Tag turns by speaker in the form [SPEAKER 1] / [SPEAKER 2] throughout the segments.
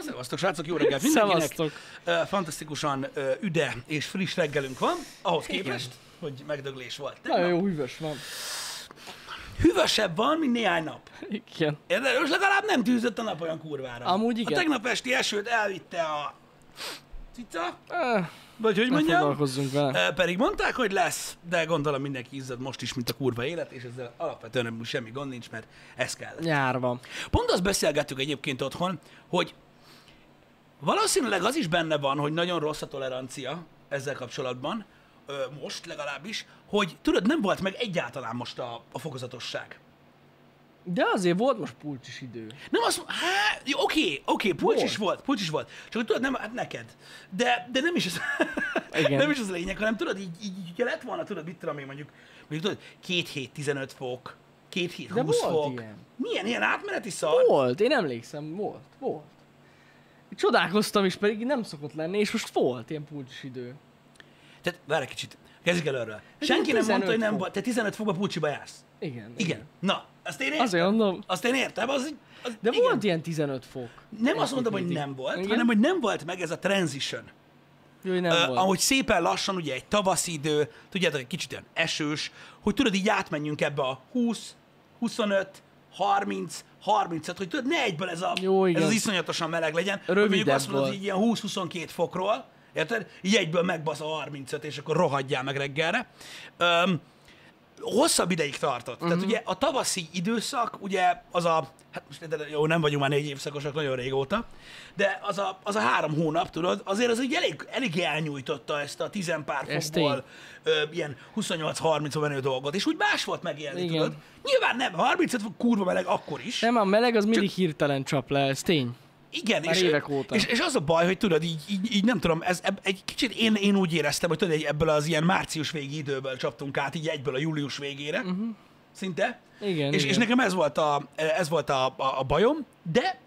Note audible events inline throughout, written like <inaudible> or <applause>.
[SPEAKER 1] Szevasztok, srácok, jó
[SPEAKER 2] Hát
[SPEAKER 1] reggelt mindenkinek.
[SPEAKER 2] Szevasztok.
[SPEAKER 1] Ö, Fantasztikusan ö, üde és friss reggelünk van, ahhoz képest, hogy megdöglés volt.
[SPEAKER 2] Nagyon jó hűvös van.
[SPEAKER 1] Hűvösebb van, mint néhány nap.
[SPEAKER 2] Igen.
[SPEAKER 1] Érted? Most legalább nem tűzött a nap olyan kurvára.
[SPEAKER 2] Amúgy igen.
[SPEAKER 1] A tegnap esti esőt elvitte a cica,
[SPEAKER 2] Eh,
[SPEAKER 1] vagy hogy
[SPEAKER 2] Ne
[SPEAKER 1] mondjam.
[SPEAKER 2] foglalkozzunk vele.
[SPEAKER 1] Ö, Pedig mondták, hogy lesz, de gondolom mindenki izzad most is, mint a kurva élet, és ezzel alapvetően nem semmi gond nincs, mert ez kell.
[SPEAKER 2] Nyár van.
[SPEAKER 1] Pont azt beszélgettük egyébként otthon, hogy valószínűleg az is benne van, hogy nagyon rossz a tolerancia ezzel kapcsolatban, ö, most legalábbis, hogy tudod, nem volt meg egyáltalán most a, a fokozatosság.
[SPEAKER 2] De azért volt most pulcsis idő.
[SPEAKER 1] Nem azt mondom, hát, jó, oké, oké, pulcs is
[SPEAKER 2] Volt.
[SPEAKER 1] volt, pulcs is volt. Csak hogy tudod, nem, hát neked. De, de nem is <laughs> az,
[SPEAKER 2] Igen.
[SPEAKER 1] nem is az a lényeg, hanem tudod, így, így, így hogyha lett volna, tudod, mit tudom én mondjuk, mondjuk tudod, két hét 15 fok, két hét
[SPEAKER 2] De
[SPEAKER 1] 20
[SPEAKER 2] volt
[SPEAKER 1] fok.
[SPEAKER 2] ilyen.
[SPEAKER 1] Milyen ilyen átmeneti szar?
[SPEAKER 2] Volt, én emlékszem, volt, volt. Csodálkoztam is, pedig nem szokott lenni, és most volt ilyen pulcsis idő.
[SPEAKER 1] Tehát várj egy kicsit, kezdjük előről. Senki nem
[SPEAKER 2] 15
[SPEAKER 1] mondta, hogy nem
[SPEAKER 2] fok.
[SPEAKER 1] volt. Te 15 fokba pulcsiba jársz.
[SPEAKER 2] Igen.
[SPEAKER 1] Igen. Na, azt én értem.
[SPEAKER 2] Azért mondom.
[SPEAKER 1] Azt én értem, az, az
[SPEAKER 2] De
[SPEAKER 1] igen.
[SPEAKER 2] igen. volt ilyen 15 fok.
[SPEAKER 1] Nem azt mondom, hogy
[SPEAKER 2] mindig.
[SPEAKER 1] nem volt,
[SPEAKER 2] Igen?
[SPEAKER 1] hanem hogy nem volt meg ez a transition.
[SPEAKER 2] Jó, hogy nem
[SPEAKER 1] Ö,
[SPEAKER 2] volt.
[SPEAKER 1] ahogy szépen lassan, ugye egy tavaszi idő, tudjátok, egy kicsit olyan esős, hogy tudod, így átmenjünk ebbe a 20, 25, 30, 35, hogy tudod, ne egyből ez, a,
[SPEAKER 2] Jó,
[SPEAKER 1] ez
[SPEAKER 2] igen.
[SPEAKER 1] az iszonyatosan meleg legyen. hogy mondjuk
[SPEAKER 2] Rövidebb
[SPEAKER 1] azt mondod,
[SPEAKER 2] volt.
[SPEAKER 1] hogy így ilyen 20-22 fokról, érted? Így egyből megbasz a 35, és akkor rohadjál meg reggelre. Öm, hosszabb ideig tartott. Uh-huh. Tehát ugye a tavaszi időszak, ugye az a, hát most de- de jó, nem vagyunk már négy évszakosak nagyon régóta, de az a, az a három hónap, tudod, azért az így elég, elég elnyújtotta ezt a tizenpár
[SPEAKER 2] Ez
[SPEAKER 1] fokból ö, ilyen 28-30 menő dolgot, és úgy más volt megélni, Igen.
[SPEAKER 2] Igen.
[SPEAKER 1] tudod. Nyilván nem, 35 fok kurva meleg akkor is.
[SPEAKER 2] Nem, a meleg az mindig hirtelen csap le, ez tény.
[SPEAKER 1] Igen,
[SPEAKER 2] Már
[SPEAKER 1] és,
[SPEAKER 2] évek óta.
[SPEAKER 1] És, és, az a baj, hogy tudod, így, így, így nem tudom, ez, eb, egy kicsit én, én úgy éreztem, hogy tudod, egy- ebből az ilyen március végi időből csaptunk át, így egyből a július végére, uh-huh. szinte.
[SPEAKER 2] Mhm. Igen,
[SPEAKER 1] és,
[SPEAKER 2] igen.
[SPEAKER 1] és nekem ez volt a, ez volt a, a, a bajom, de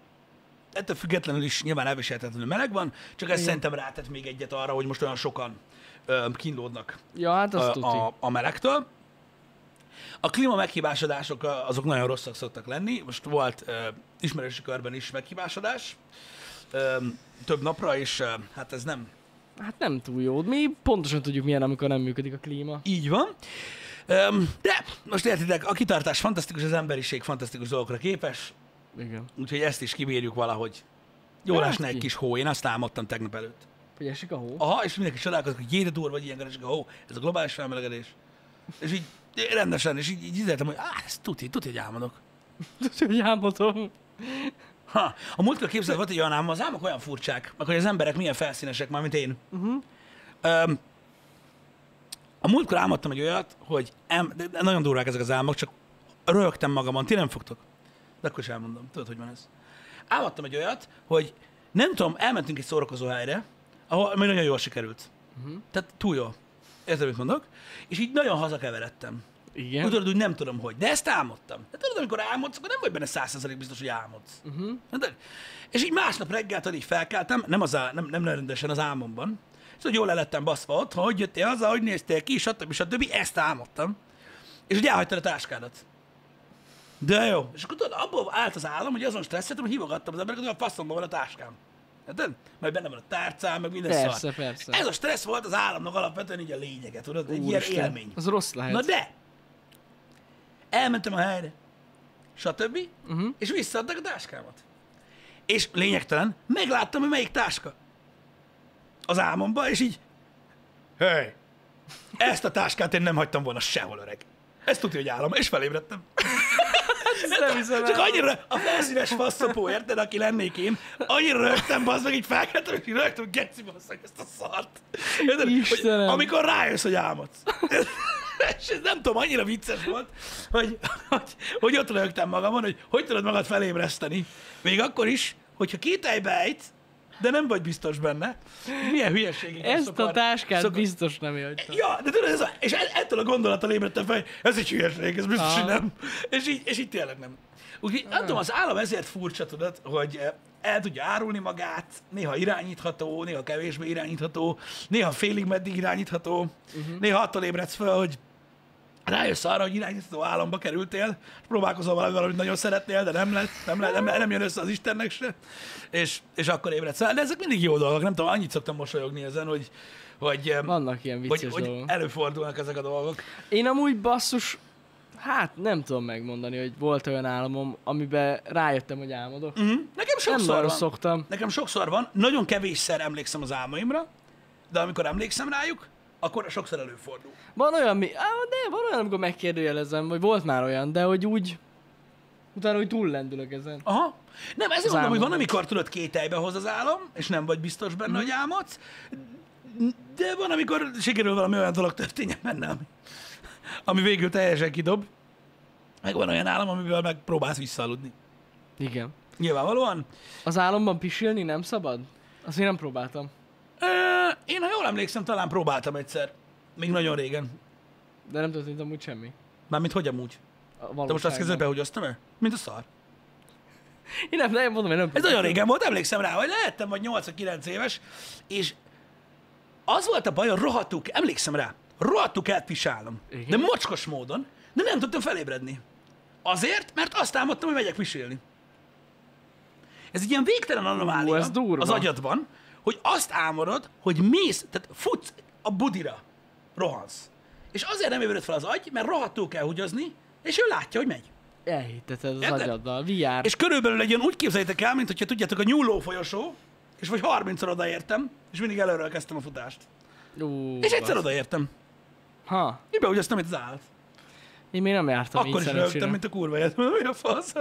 [SPEAKER 1] ettől függetlenül is nyilván elviselhetetlenül meleg van, csak ez szerintem rátett még egyet arra, hogy most olyan sokan ö, kínlódnak
[SPEAKER 2] Ja, hát azt
[SPEAKER 1] a,
[SPEAKER 2] tudni.
[SPEAKER 1] a, a melegtől. A klíma meghibásodások ö, azok nagyon rosszak szoktak lenni. Most volt ö, ismerősi körben is meghibásodás ö, több napra, és ö, hát ez nem
[SPEAKER 2] Hát nem túl jó. Mi pontosan tudjuk milyen, amikor nem működik a klíma.
[SPEAKER 1] így van. Ö, de most értitek, a kitartás fantasztikus, az emberiség fantasztikus dolgokra képes,
[SPEAKER 2] Igen.
[SPEAKER 1] úgyhogy ezt is kibírjuk valahogy. Jól
[SPEAKER 2] Hát
[SPEAKER 1] esne egy
[SPEAKER 2] ki.
[SPEAKER 1] kis hó, én azt álmodtam tegnap előtt.
[SPEAKER 2] Hogy esik a hó?
[SPEAKER 1] Aha, és mindenki csodálkozik, hogy jéde durva, vagy ilyenkor, és akkor, ó, ez a globális felmelegedés. És így rendesen, és így, így ízeltem, hogy á, ez tuti, tuti, hogy álmodok.
[SPEAKER 2] Tudod, hogy álmodom.
[SPEAKER 1] Ha, a múltkor képzeld, volt egy olyan álmom, az álmok olyan furcsák, meg hogy az emberek milyen felszínesek, már mint én. Uh-huh. Um, a múltkor álmodtam egy olyat, hogy em, de- de nagyon durvák ezek az álmok, csak röhögtem magamon, ti nem fogtok. De akkor is elmondom, tudod, hogy van ez. Álmodtam egy olyat, hogy nem tudom, elmentünk egy szórakozó helyre, ahol ami nagyon jól sikerült. Uh-huh. Tehát túl jó. Érted, mit mondok? És így nagyon hazakeveredtem.
[SPEAKER 2] Igen.
[SPEAKER 1] Úgy tudod, úgy nem tudom, hogy. De ezt álmodtam. De tudod, amikor álmodsz, akkor nem vagy benne százszerzalék biztos, hogy álmodsz.
[SPEAKER 2] Mhm.
[SPEAKER 1] Uh-huh. De, és így másnap reggeltől így felkeltem, nem, az á, nem, nem rendesen az álmomban. Szóval jól el lettem baszva ott, hogy jöttél haza, hogy néztél ki, stb. stb. Ezt álmodtam. És hogy elhagytad a táskádat. De jó. És akkor tudod, abból állt az állam, hogy azon stresszeltem, hogy hívogattam az embereket, hogy a faszomban van a táskám. Érted? Majd benne van a tárcám, meg minden
[SPEAKER 2] Persze,
[SPEAKER 1] szar.
[SPEAKER 2] persze.
[SPEAKER 1] Ez a stressz volt az államnak alapvetően így a lényege, tudod? Egy ilyen
[SPEAKER 2] Úristen,
[SPEAKER 1] élmény.
[SPEAKER 2] Az rossz lehet.
[SPEAKER 1] Na de! Elmentem a helyre, stb. Uh-huh. És visszaadtak a táskámat. És lényegtelen, megláttam, hogy melyik táska. Az álmomba, és így, hey, ezt a táskát én nem hagytam volna sehol, öreg. Ezt tudja, hogy állam, és felébredtem.
[SPEAKER 2] Ezt nem hiszem
[SPEAKER 1] Csak
[SPEAKER 2] el.
[SPEAKER 1] annyira a felszínes faszopó, érted, aki lennék én, annyira rögtem, bazd meg, így felkeltem, és így rögtem, geci, bazd meg ezt a szart. Érted? Hogy,
[SPEAKER 2] Istenem.
[SPEAKER 1] amikor rájössz, hogy álmodsz. <laughs> és ez nem tudom, annyira vicces volt, hogy, hogy, hogy ott rögtem magamon, hogy hogy tudod magad felébreszteni. Még akkor is, hogyha két ejt, de nem vagy biztos benne. Milyen hülyeség.
[SPEAKER 2] Ezt a táskát biztos nem hagytam.
[SPEAKER 1] Ja, de tudod, ez a, és e- ettől a gondolattal ébredtem fel, hogy ez egy hülyeség, ez biztos,
[SPEAKER 2] Ah.
[SPEAKER 1] hogy nem. És így, és így tényleg nem. Úgyhogy nem tudom, az állam ezért furcsa, tudod, hogy eh, el tudja árulni magát, néha irányítható, néha kevésbé irányítható, néha félig meddig irányítható, uh-huh. néha attól ébredsz fel, hogy rájössz arra, hogy irányító államba kerültél, és próbálkozol valamivel, amit nagyon szeretnél, de nem lett, nem, lett, nem, nem jön össze az Istennek se, és, és akkor ébredsz fel. De ezek mindig jó dolgok, nem tudom, annyit szoktam mosolyogni ezen, hogy, hogy, eh, em,
[SPEAKER 2] Vannak ilyen vicces
[SPEAKER 1] hogy, e-
[SPEAKER 2] hogy,
[SPEAKER 1] hogy
[SPEAKER 2] dolgok.
[SPEAKER 1] előfordulnak ezek a dolgok.
[SPEAKER 2] Én amúgy basszus, hát nem tudom megmondani, hogy volt olyan álmom, amiben rájöttem, hogy álmodok.
[SPEAKER 1] Mhm. Nekem
[SPEAKER 2] Nem
[SPEAKER 1] sokszor
[SPEAKER 2] nagyon
[SPEAKER 1] van.
[SPEAKER 2] szoktam.
[SPEAKER 1] Nekem sokszor van, nagyon kevésszer emlékszem az álmaimra, de amikor emlékszem rájuk, akkor sokszor előfordul.
[SPEAKER 2] Van olyan, mi... Á, de van olyan, amikor megkérdőjelezem, vagy volt már olyan, de hogy úgy... Utána úgy túllendülök ezen.
[SPEAKER 1] Aha. Nem, ezért mondom, hogy
[SPEAKER 2] álmodban. Mhm.
[SPEAKER 1] van, amikor tudod két helybe hoz az álom, és nem vagy biztos benne, hogy álmodsz, de van, amikor sikerül valami olyan dolog történjen benne, ami, ami végül teljesen kidob. Meg van olyan álom, amivel megpróbálsz visszaaludni.
[SPEAKER 2] Igen.
[SPEAKER 1] Nyilvánvalóan.
[SPEAKER 2] Az álomban pisilni nem szabad? Azt én nem próbáltam.
[SPEAKER 1] Ö, én, ha jól emlékszem, talán próbáltam egyszer. Még nagyon régen.
[SPEAKER 2] De nem történt amúgy semmi.
[SPEAKER 1] Mármint hogy amúgy.
[SPEAKER 2] A
[SPEAKER 1] Te most azt kezded
[SPEAKER 2] valóságban.
[SPEAKER 1] behugyoztam el? Mint a szar.
[SPEAKER 2] Én nem, nem mondom, én nem
[SPEAKER 1] Ez
[SPEAKER 2] próbáltam.
[SPEAKER 1] nagyon régen volt, emlékszem rá, hogy lehettem vagy 8 vagy 9 éves, és az volt a baj, hogy rohadtuk, emlékszem rá, rohadtuk elpisálom,
[SPEAKER 2] Igen.
[SPEAKER 1] de mocskos módon, de nem tudtam felébredni. Azért, mert azt álmodtam, hogy megyek pisilni. Ez egy ilyen végtelen anomália
[SPEAKER 2] Ú, ez durva.
[SPEAKER 1] az agyadban, hogy azt álmodod, hogy mész, tehát futsz a budira, rohansz. És azért nem ébred fel az agy, mert rohadtul kell húgyozni, és ő látja, hogy megy.
[SPEAKER 2] Elhitteted az
[SPEAKER 1] Érted?
[SPEAKER 2] agyaddal. VR.
[SPEAKER 1] És körülbelül egy olyan úgy képzeljétek el, mint hogyha tudjátok, a nyúló folyosó, és vagy 30-szor odaértem, és mindig előről kezdtem a futást.
[SPEAKER 2] Ú,
[SPEAKER 1] És egyszer
[SPEAKER 2] basz.
[SPEAKER 1] odaértem.
[SPEAKER 2] Ha.
[SPEAKER 1] Így beúgyoztam itt az állat.
[SPEAKER 2] Én még nem jártam
[SPEAKER 1] Akkor
[SPEAKER 2] így
[SPEAKER 1] is rögtem,
[SPEAKER 2] szerencsére.
[SPEAKER 1] mint a kurva élet. Mondom, mi a fasz?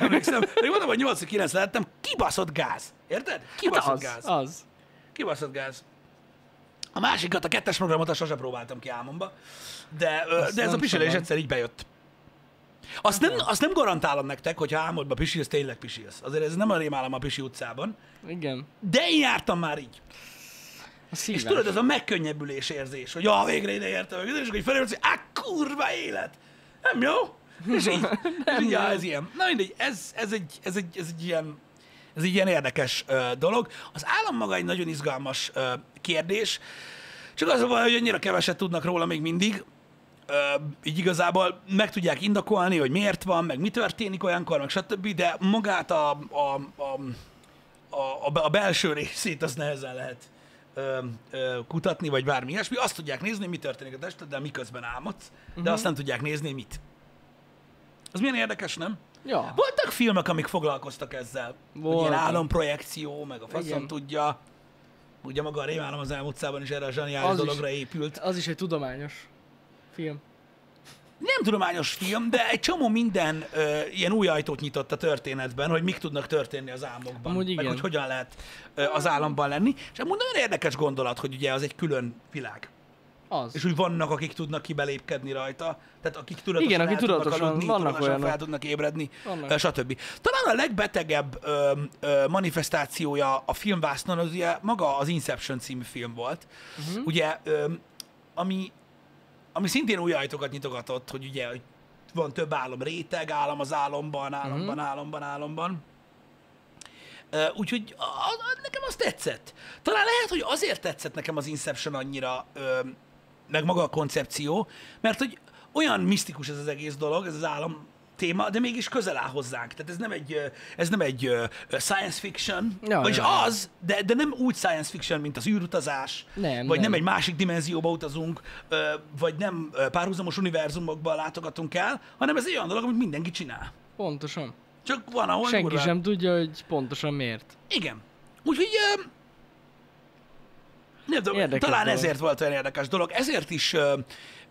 [SPEAKER 1] Emlékszem, még mondom, hogy 8-9 lettem, kibaszott gáz. Érted? Kibaszott
[SPEAKER 2] Hát az,
[SPEAKER 1] gáz.
[SPEAKER 2] az.
[SPEAKER 1] Kibaszott gáz. A másikat, a kettes programot azt sose próbáltam ki álmomba, de, ö,
[SPEAKER 2] Azt
[SPEAKER 1] de ez a
[SPEAKER 2] nem
[SPEAKER 1] pisilés
[SPEAKER 2] szabad.
[SPEAKER 1] egyszer így bejött. Azt nem, azt nem garantálom nektek, hogy ha álmodba pisilsz, tényleg pisilsz. Azért ez nem a rémálom a pisi utcában,
[SPEAKER 2] Igen.
[SPEAKER 1] de én jártam már így.
[SPEAKER 2] A
[SPEAKER 1] És
[SPEAKER 2] szívás.
[SPEAKER 1] tudod, ez a megkönnyebbülés érzés, hogy ja, végre ide értem, meg, és akkor így felérsz, hogy á, kurva élet! Nem jó? És így, és így ja, ez ilyen. Na mindegy, ez, ez, egy, ez, egy, ez egy ilyen ez egy ilyen érdekes ö, dolog. Az állam maga egy nagyon izgalmas ö, kérdés, csak az a baj, hogy annyira keveset tudnak róla még mindig, ö, így igazából meg tudják indokolni, hogy miért van, meg mi történik olyankor, meg stb., de magát a, a, a, a, a, be- a belső részét az nehezen lehet ö, ö, kutatni, vagy bármi ilyesmi. Azt tudják nézni, mi történik a testeddel, miközben álmodsz, de
[SPEAKER 2] Mhm.
[SPEAKER 1] azt nem tudják nézni, mit. Az milyen érdekes, nem?
[SPEAKER 2] Ja.
[SPEAKER 1] Voltak filmek, amik foglalkoztak ezzel. Volt. Ilyen
[SPEAKER 2] Ah. Voltak.
[SPEAKER 1] álomprojekció, meg a faszom
[SPEAKER 2] Igen.
[SPEAKER 1] tudja. Ugye maga a rémálom az elmúlt utcában is erre a zseniális
[SPEAKER 2] Az is.
[SPEAKER 1] dologra épült.
[SPEAKER 2] Az is egy tudományos film.
[SPEAKER 1] Nem tudományos film, de egy csomó minden ö, ilyen új ajtót nyitott a történetben, hogy mik tudnak történni az álmokban,
[SPEAKER 2] Amúgy
[SPEAKER 1] meg
[SPEAKER 2] igen.
[SPEAKER 1] hogy hogyan lehet ö, az államban lenni. És amúgy nagyon érdekes gondolat, hogy ugye az egy külön világ.
[SPEAKER 2] Az.
[SPEAKER 1] És úgy vannak, akik tudnak kibelépkedni rajta, tehát akik tudatosan
[SPEAKER 2] Igen, akik
[SPEAKER 1] el tudnak
[SPEAKER 2] tudatosan,
[SPEAKER 1] aludni,
[SPEAKER 2] vannak
[SPEAKER 1] tudatosan
[SPEAKER 2] olyanok.
[SPEAKER 1] fel tudnak ébredni,
[SPEAKER 2] Vannak.
[SPEAKER 1] ö, stb. Talán a legbetegebb ö, ö, manifestációja a filmvásznon az ugye maga az Inception című film volt,
[SPEAKER 2] Mhm.
[SPEAKER 1] uh-huh. ugye, ö, ami, ami szintén új ajtókat nyitogatott, hogy ugye hogy van több álom, réteg álom az álomban, álomban,
[SPEAKER 2] Mhm.
[SPEAKER 1] uh-huh. álomban, álomban. Ö, Úgyhogy a, a, nekem az tetszett. Talán lehet, hogy azért tetszett nekem az Inception annyira, ö, meg maga a koncepció, mert hogy olyan misztikus ez az egész dolog, ez az állam téma, de mégis közel áll hozzánk. Tehát ez nem egy, ö, ez nem egy ö, ö, science fiction,
[SPEAKER 2] Ja,
[SPEAKER 1] vagyis
[SPEAKER 2] ja, ja.
[SPEAKER 1] az, de, de nem úgy science fiction, mint az űrutazás,
[SPEAKER 2] Nem,
[SPEAKER 1] vagy nem.
[SPEAKER 2] nem.
[SPEAKER 1] egy másik dimenzióba utazunk, ö, vagy nem ö, párhuzamos univerzumokba látogatunk el, hanem ez egy olyan dolog, amit mindenki csinál.
[SPEAKER 2] Pontosan.
[SPEAKER 1] Csak van, ahol
[SPEAKER 2] Senki
[SPEAKER 1] durvább.
[SPEAKER 2] sem tudja, hogy pontosan miért.
[SPEAKER 1] Igen. Úgyhogy ö, nem tudom,
[SPEAKER 2] Érdekes
[SPEAKER 1] talán
[SPEAKER 2] dolog.
[SPEAKER 1] ezért volt olyan érdekes dolog. Ezért is ö,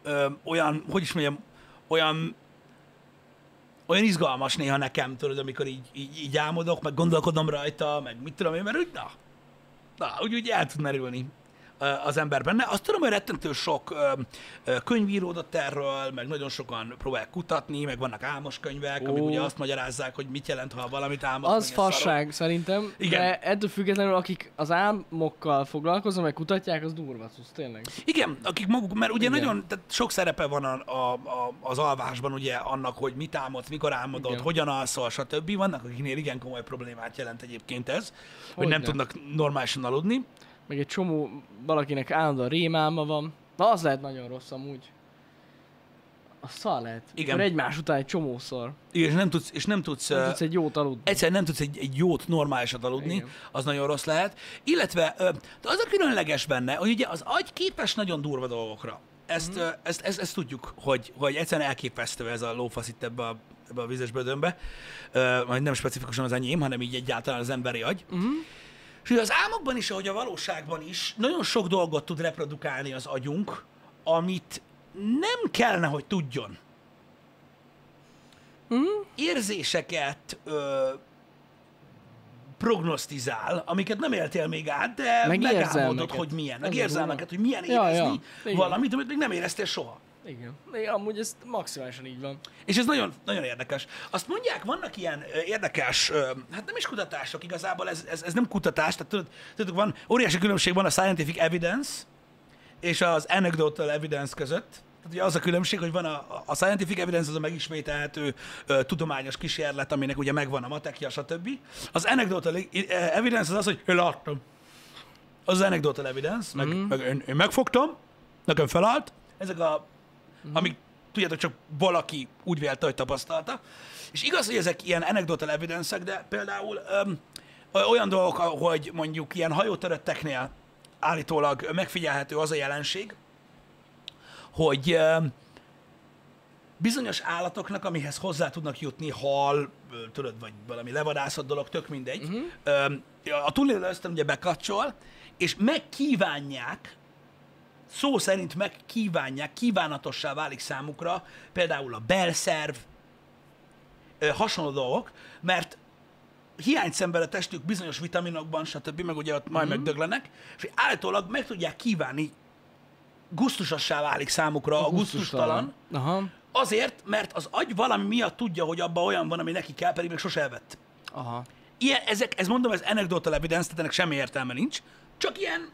[SPEAKER 1] ö, olyan, hogy is mondjam, olyan olyan izgalmas néha nekem, tudod, amikor így, így, így álmodok, meg gondolkodom rajta, meg mit tudom én, mert úgy, na, na úgy, úgy el tud merülni ö, az ember benne. Azt tudom, hogy rettentő sok ö, ö, könyv íródott erről, meg nagyon sokan próbálják kutatni, meg vannak álmos könyvek, amik
[SPEAKER 2] Ó.
[SPEAKER 1] ugye azt magyarázzák, hogy mit jelent, ha valamit álmodsz.
[SPEAKER 2] Az
[SPEAKER 1] meg ilyen szarok.
[SPEAKER 2] fasság szerintem,
[SPEAKER 1] Igen.
[SPEAKER 2] Igen. de ettől függetlenül akik az álmokkal foglalkoznak, meg kutatják, az durva cucc, tényleg.
[SPEAKER 1] Igen, akik maguk, mert ugye Igen.
[SPEAKER 2] Igen.
[SPEAKER 1] nagyon, tehát sok szerepe van a, a, a, az alvásban ugye annak, hogy mit álmodsz, mikor álmodod, Igen.
[SPEAKER 2] Igen.
[SPEAKER 1] hogyan alszol, stb. Vannak, akiknél igen komoly problémát jelent egyébként ez, hogy, hogy
[SPEAKER 2] Hogyne.
[SPEAKER 1] nem ne. tudnak normálisan aludni.
[SPEAKER 2] Meg egy csomó valakinek állandóan rémálma van. Na az lehet nagyon rossz amúgy. A szal lehet.
[SPEAKER 1] Igen.
[SPEAKER 2] Akkor egymás után egy csomószor.
[SPEAKER 1] Igen, és nem tudsz, és nem tudsz,
[SPEAKER 2] Nem
[SPEAKER 1] ö,
[SPEAKER 2] tudsz egy jót aludni.
[SPEAKER 1] egyszer nem tudsz egy, egy jót normálisat aludni,
[SPEAKER 2] Igen.
[SPEAKER 1] Igen. az nagyon rossz lehet. Illetve ö, de az a különleges benne, hogy ugye az agy képes nagyon durva dolgokra. Ezt, mm. ezt, ezt, ezt tudjuk, hogy, hogy egyszerűen elképesztő ez a lófasz itt ebbe a, ebbe a vizes bödönbe. Ö, majd nem specifikusan az enyém, hanem így egyáltalán az emberi agy. Mm. És ugye az álmokban is, ahogy a valóságban is, nagyon sok dolgot tud reprodukálni az agyunk, amit nem kellene, hogy tudjon. Érzéseket ö, prognosztizál, amiket nem éltél még át, de
[SPEAKER 2] Meg
[SPEAKER 1] megálmodod,
[SPEAKER 2] érzelmeket.
[SPEAKER 1] hogy milyen.
[SPEAKER 2] Ez
[SPEAKER 1] Meg
[SPEAKER 2] a
[SPEAKER 1] érzelmeket, hogy
[SPEAKER 2] durva.
[SPEAKER 1] milyen
[SPEAKER 2] Ja, ja.
[SPEAKER 1] érezni
[SPEAKER 2] Igen.
[SPEAKER 1] valamit, amit még nem éreztél soha.
[SPEAKER 2] Igen. Igen. Amúgy ez maximálisan így van.
[SPEAKER 1] És ez nagyon, nagyon érdekes. Azt mondják, vannak ilyen ö, érdekes, ö, hát nem is kutatások, igazából ez, ez, ez nem kutatás, tehát tudod, tudod, van, óriási különbség van a scientific evidence és az anecdotal evidence között. Tehát ugye az a különbség, hogy van a, a scientific evidence, az a megismételhető ö, tudományos kísérlet, aminek ugye megvan a matekja, stb. Az anecdotal i- ö, evidence az az, hogy én láttam. Az az anecdotal evidence, meg, mm. meg én, én megfogtam, nekem felállt, ezek a uh-huh. amik tudjátok, csak valaki úgy vélte, hogy tapasztalta. És igaz, hogy ezek ilyen anecdotal evidence de például öm, ö- olyan dolgok, hogy mondjuk ilyen hajótörötteknél állítólag megfigyelhető az a jelenség, hogy öm, bizonyos állatoknak, amihez hozzá tudnak jutni hal, ö, tudod, vagy valami levadászott dolog, tök mindegy, uh-huh. a túlélő ösztön ugye bekapcsol, és megkívánják, szó szerint megkívánják, kívánatossá válik számukra például a belszerv, ö, hasonló dolgok, mert hiányt szenved a testük bizonyos vitaminokban, stb., meg ugye ott majd mm-hmm. megdöglenek, és hogy állítólag meg tudják kívánni, gusztusassá válik számukra a, gusztustalan,
[SPEAKER 2] Aha.
[SPEAKER 1] Azért, mert az agy valami miatt tudja, hogy abban olyan van, ami neki kell, pedig még sose elvett.
[SPEAKER 2] Aha.
[SPEAKER 1] Ilyen, ezek, ez mondom, ez anecdotal evidence, tehát ennek semmi értelme nincs, csak ilyen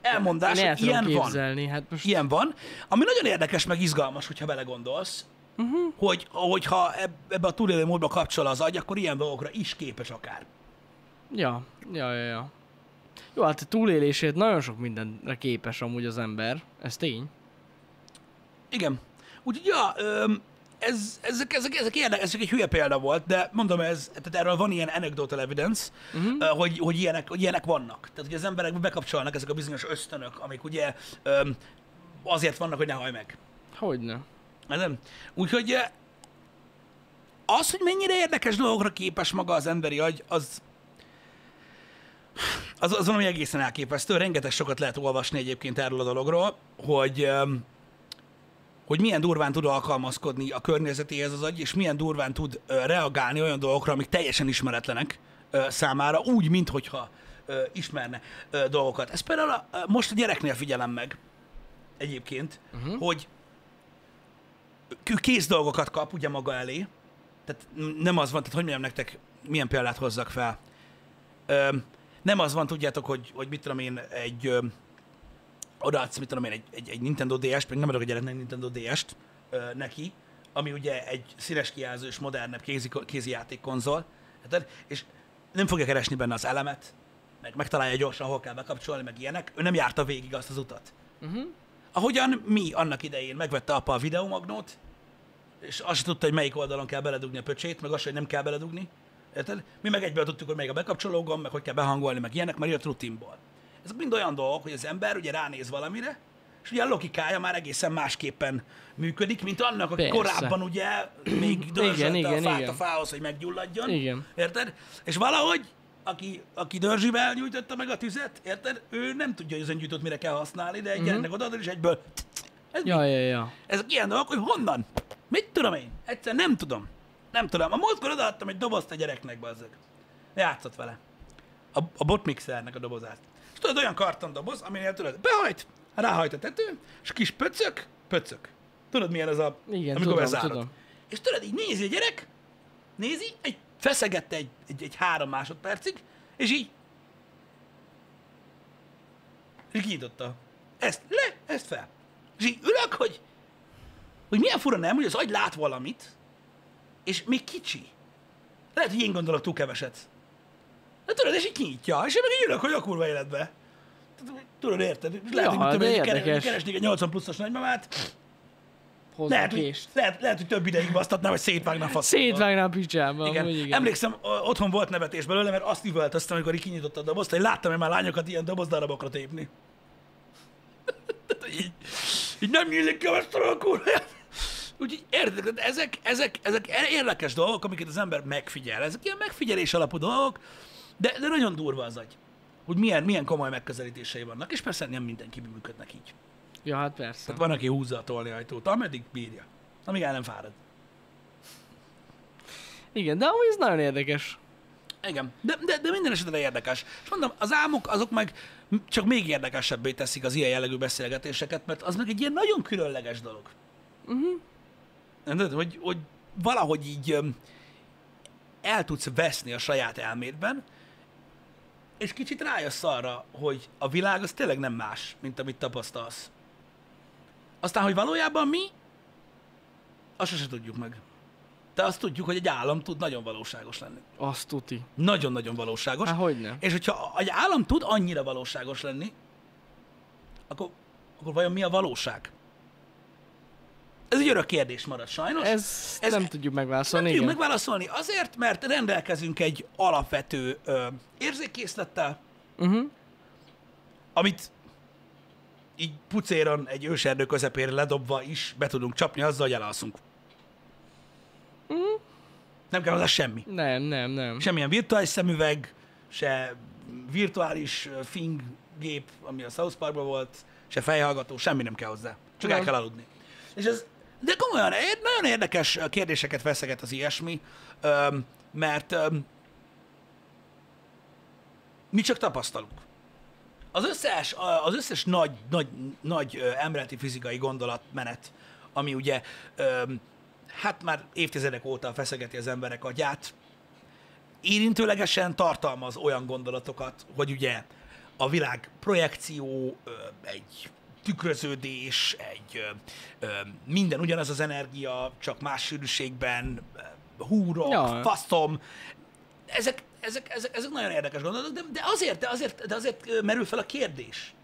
[SPEAKER 1] elmondás,
[SPEAKER 2] Én el
[SPEAKER 1] hogy
[SPEAKER 2] tudom
[SPEAKER 1] ilyen van.
[SPEAKER 2] képzelni. Hát most
[SPEAKER 1] Ilyen van. Ami nagyon érdekes, meg izgalmas, hogyha belegondolsz,
[SPEAKER 2] Mhm.
[SPEAKER 1] uh-huh. hogy hogyha eb- ebbe a túlélő módba kapcsol az agy, akkor ilyen dolgokra is képes akár.
[SPEAKER 2] Ja, ja, ja, ja. Jó, hát a túlélését nagyon sok mindenre képes amúgy az ember. Ez tény.
[SPEAKER 1] Igen. Úgyhogy, ja, öm, ez, ezek, ezek, ezek érdekes, ez csak egy hülye példa volt, de mondom, ez, tehát erről van ilyen anecdotal evidence, uh-huh. hogy, hogy, ilyenek, hogy ilyenek vannak. Tehát, hogy az emberekbe bekapcsolnak ezek a bizonyos ösztönök, amik ugye öm, azért vannak, hogy ne haj meg.
[SPEAKER 2] Hogyne.
[SPEAKER 1] Nem? Úgyhogy eh, az, hogy mennyire érdekes dolgokra képes maga az emberi agy, az, az, az valami egészen elképesztő. Rengeteg sokat lehet olvasni egyébként erről a dologról, hogy, em, hogy milyen durván tud alkalmazkodni a környezetéhez az agy, és milyen durván tud ö, reagálni olyan dolgokra, amik teljesen ismeretlenek ö, számára, úgy, minthogyha ö, ismerne ö, dolgokat. Ez például a, ö, most a gyereknél figyelem meg egyébként, uh-huh. hogy k- kész dolgokat kap ugye maga elé. Tehát n- nem az van, tehát hogy mondjam nektek, milyen példát hozzak fel. Öm, nem az van, tudjátok, hogy, hogy mit tudom én, egy öm, odaadsz, mit tudom én, egy, egy, egy Nintendo DS-t, még nem adok a gyereknek Nintendo DS-t ö, neki, ami ugye egy színes kijelző és modernebb kézi, kézi játékkonzol, érted? és nem fogja keresni benne az elemet, meg megtalálja gyorsan, hol kell bekapcsolni, meg ilyenek. Ő nem járta végig azt az utat. Ahogyan mi annak idején megvette apa a videomagnót, és azt se tudta, hogy melyik oldalon kell beledugni a pöcsét, meg azt, se, hogy nem kell beledugni. Érted? Mi meg egyből tudtuk, hogy melyik a bekapcsoló gomb, meg hogy kell behangolni, meg ilyenek, mert jött rutinból. Ezek mind olyan dolgok, hogy az ember ugye ránéz valamire, és ugye a logikája már egészen másképpen működik, mint annak, aki
[SPEAKER 2] Persze.
[SPEAKER 1] korábban ugye még dörzsölte
[SPEAKER 2] igen,
[SPEAKER 1] a fát
[SPEAKER 2] igen.
[SPEAKER 1] a fához, hogy meggyulladjon.
[SPEAKER 2] Igen.
[SPEAKER 1] Érted? És valahogy, aki, aki dörzsivel nyújtotta meg a tüzet, érted? Ő nem tudja, hogy az öngyújtót mire kell használni, de egy mm-hmm. gyereknek odaadod, és egyből... Ez mi?
[SPEAKER 2] Ja, ja, ja.
[SPEAKER 1] Ezek ilyen dolgok, hogy honnan? Mit tudom én? Egyszer nem tudom. Nem tudom. A múltkor odaadtam egy dobozt a gyereknek, bazzeg. Játszott vele. A, a botmixernek a dobozát. És tudod, olyan kartondoboz, aminél tudod, behajt, ráhajt a tető, és kis pöcök, pöcök. Tudod, milyen az a...
[SPEAKER 2] Igen,
[SPEAKER 1] amikor
[SPEAKER 2] tudom,
[SPEAKER 1] bezárod.
[SPEAKER 2] tudom.
[SPEAKER 1] És tudod, így nézi a gyerek, nézi, egy feszegette egy, egy, egy három másodpercig, és így és kinyitotta. Ezt le, ezt fel. És így ülök, hogy, hogy milyen fura nem, hogy az agy lát valamit, és még kicsi. Lehet, hogy én gondolok túl keveset. De tudod, és így kinyitja, és én meg így ülök, hogy a kurva életbe. Tudod, érted? És Lehet,
[SPEAKER 2] Ja,
[SPEAKER 1] hogy mit tudom
[SPEAKER 2] de
[SPEAKER 1] én, keres-
[SPEAKER 2] érdekes.
[SPEAKER 1] keresnék egy 80 pluszos nagymamát,
[SPEAKER 2] hozzá
[SPEAKER 1] Lehet,
[SPEAKER 2] lehet,
[SPEAKER 1] hogy,
[SPEAKER 2] kést.
[SPEAKER 1] lehet, lehet, hogy több ideig basztatná, vagy szétvágná a faszomba.
[SPEAKER 2] Szétvágnám picsába,
[SPEAKER 1] Igen.
[SPEAKER 2] igen.
[SPEAKER 1] igen.
[SPEAKER 2] igen.
[SPEAKER 1] Emlékszem, ö, otthon volt nevetés belőle, mert azt üvöltöztem, amikor így kinyitotta a dobozt, hogy láttam én már lányokat ilyen dobozdarabokra tépni. <laughs> Tehát, hogy így, így nem nyílik ki a vesztről a kurvát. Úgyhogy érted, tehát ezek, ezek, ezek e- érdekes dolgok, amiket az ember megfigyel. Ezek ilyen megfigyelés alapú dolgok, de, de nagyon durva az agy, hogy milyen, milyen komoly megközelítései vannak, és persze nem mindenki működnek így.
[SPEAKER 2] Ja, hát persze.
[SPEAKER 1] Tehát van, aki húzza a tolni ajtót, ameddig bírja, amíg el nem fárad.
[SPEAKER 2] Igen, de amúgy ez nagyon érdekes.
[SPEAKER 1] Igen, de, de, de minden esetre érdekes. És mondom, az álmok azok meg m- csak még érdekesebbé teszik az ilyen jellegű beszélgetéseket, mert az meg egy ilyen nagyon különleges dolog. Uh-huh. Tudod, hogy, hogy valahogy így öm, el tudsz veszni a saját elmédben, és kicsit rájössz arra, hogy a világ az tényleg nem más, mint amit tapasztalsz. Aztán, hogy valójában mi, azt sose tudjuk meg. De azt tudjuk, hogy egy állam tud nagyon valóságos lenni
[SPEAKER 2] Azt tuti.
[SPEAKER 1] nagyon-nagyon valóságos.
[SPEAKER 2] Hát
[SPEAKER 1] Aha.
[SPEAKER 2] hogyne.
[SPEAKER 1] És hogyha egy állam tud annyira valóságos lenni, akkor, akkor vajon mi a valóság? Ez egy örök kérdés marad sajnos.
[SPEAKER 2] Ez,
[SPEAKER 1] Ez-
[SPEAKER 2] ez nem tudjuk megválaszolni,
[SPEAKER 1] nem
[SPEAKER 2] igen.
[SPEAKER 1] tudjuk megválaszolni azért, mert rendelkezünk egy alapvető ö, érzékészlettel,
[SPEAKER 2] Uh-huh.
[SPEAKER 1] amit így pucéron egy őserdő közepére ledobva is be tudunk csapni azzal, hogy elalszunk.
[SPEAKER 2] Mhm.
[SPEAKER 1] Nem kell hozzá semmi.
[SPEAKER 2] Nem, nem, nem.
[SPEAKER 1] semmilyen virtuális szemüveg, se virtuális ö, fing gép, ami a South Parkban volt, se fejhallgató, semmi nem kell hozzá. Csak el
[SPEAKER 2] Nem.
[SPEAKER 1] kell aludni. És ez, de komolyan, ér- nagyon érdekes ö, kérdéseket veszeget az ilyesmi, öm, mert öm, mi csak tapasztalunk. Az összes, a- az összes nagy, nagy, nagy ö, elméleti fizikai gondolatmenet, ami ugye öm, hát már évtizedek óta feszegeti az emberek agyát, érintőlegesen tartalmaz olyan gondolatokat, hogy ugye a világ projekció, ö, egy tükröződés, egy ö, ö, minden ugyanaz az energia, csak más sűrűségben, ö, húrok,
[SPEAKER 2] Ja.
[SPEAKER 1] faszom. Ezek, ezek, ezek, ezek nagyon érdekes gondolatok, de, de, azért, de, azért, de azért ö, merül fel a kérdés.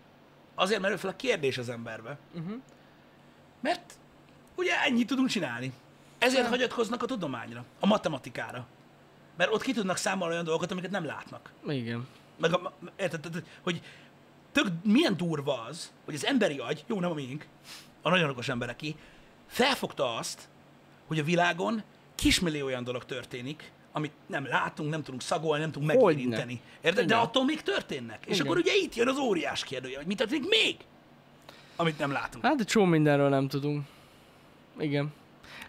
[SPEAKER 1] Azért merül fel a kérdés az emberbe. Mert ugye ennyit tudunk csinálni. Ezért hagyatkoznak a tudományra, a matematikára. Mert ott ki tudnak számolni olyan dolgokat, amiket nem látnak.
[SPEAKER 2] Igen.
[SPEAKER 1] Meg a, érted, tehát, hogy tök milyen durva az, hogy az emberi agy, jó, nem a miénk, a nagyon okos embereké, felfogta azt, hogy a világon kismillió olyan dolog történik, amit nem látunk, nem tudunk szagolni, nem tudunk
[SPEAKER 2] Hogyne.
[SPEAKER 1] megérinteni. Érted? De
[SPEAKER 2] Igen.
[SPEAKER 1] attól még történnek. És
[SPEAKER 2] Igen.
[SPEAKER 1] akkor ugye itt jön az óriás kérdője, hogy mi történik még, amit nem látunk.
[SPEAKER 2] Hát egy csomó mindenről nem tudunk. Igen.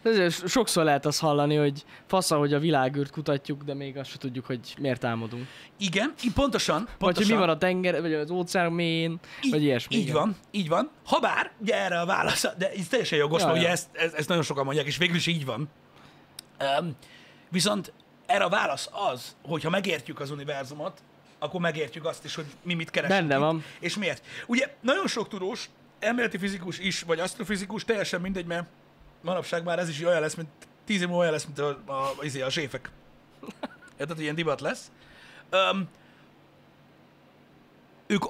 [SPEAKER 2] De Ezért so- sokszor lehet azt hallani, hogy fasza, hogy a világűrt kutatjuk, de még azt se tudjuk, hogy miért álmodunk.
[SPEAKER 1] Igen, így pontosan.
[SPEAKER 2] Vagy
[SPEAKER 1] pontosan.
[SPEAKER 2] hogy mi van a tenger, vagy az óceán mélyén, vagy ilyesmi.
[SPEAKER 1] Így
[SPEAKER 2] igen.
[SPEAKER 1] van, így van. Habár, ugye erre a válasz, de ez teljesen jogos,
[SPEAKER 2] Ja,
[SPEAKER 1] mert ugye
[SPEAKER 2] ja.
[SPEAKER 1] ezt, ezt, ezt nagyon sokan mondják, és végül is így van. Um, viszont erre a válasz az, hogy ha megértjük az univerzumot, akkor megértjük azt is, hogy mi mit keresünk.
[SPEAKER 2] Benne
[SPEAKER 1] itt,
[SPEAKER 2] van.
[SPEAKER 1] És miért. Ugye nagyon sok tudós, elméleti fizikus is, vagy asztrofizikus, teljesen mindegy, mert manapság már ez is olyan lesz, mint tíz év múlva olyan lesz, mint a, a, izé, a, a séfek. Érted, hogy ilyen divat lesz. Um, ők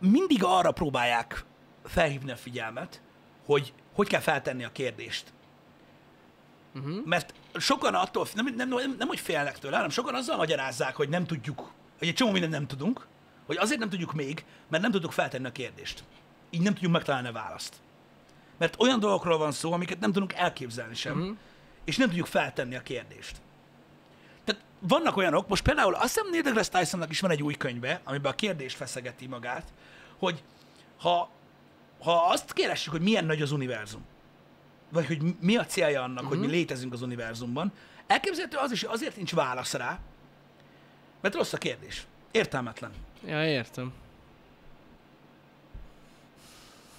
[SPEAKER 1] mindig arra próbálják felhívni a figyelmet, hogy hogy kell feltenni a kérdést. Uh-huh. Mert sokan attól, nem, nem, nem, nem hogy félnek tőle, hanem sokan azzal magyarázzák, hogy nem tudjuk, hogy egy csomó mindent nem tudunk, hogy azért nem tudjuk még, mert nem tudjuk feltenni a kérdést. Így nem tudjuk megtalálni a választ. Mert olyan dolgokról van szó, amiket nem tudunk elképzelni sem, uh-huh. és nem tudjuk feltenni a kérdést. Tehát vannak olyanok, most például azt hiszem Neil deGrasse Tysonnak is van egy új könyve, amiben a kérdést feszegeti magát, hogy ha, ha azt keressük, hogy milyen nagy az univerzum, vagy hogy mi- mi a célja annak, hogy mi létezünk az univerzumban, elképzelhető az is, hogy azért nincs válasz rá, mert rossz a kérdés. Értelmetlen.
[SPEAKER 2] Ja, értem.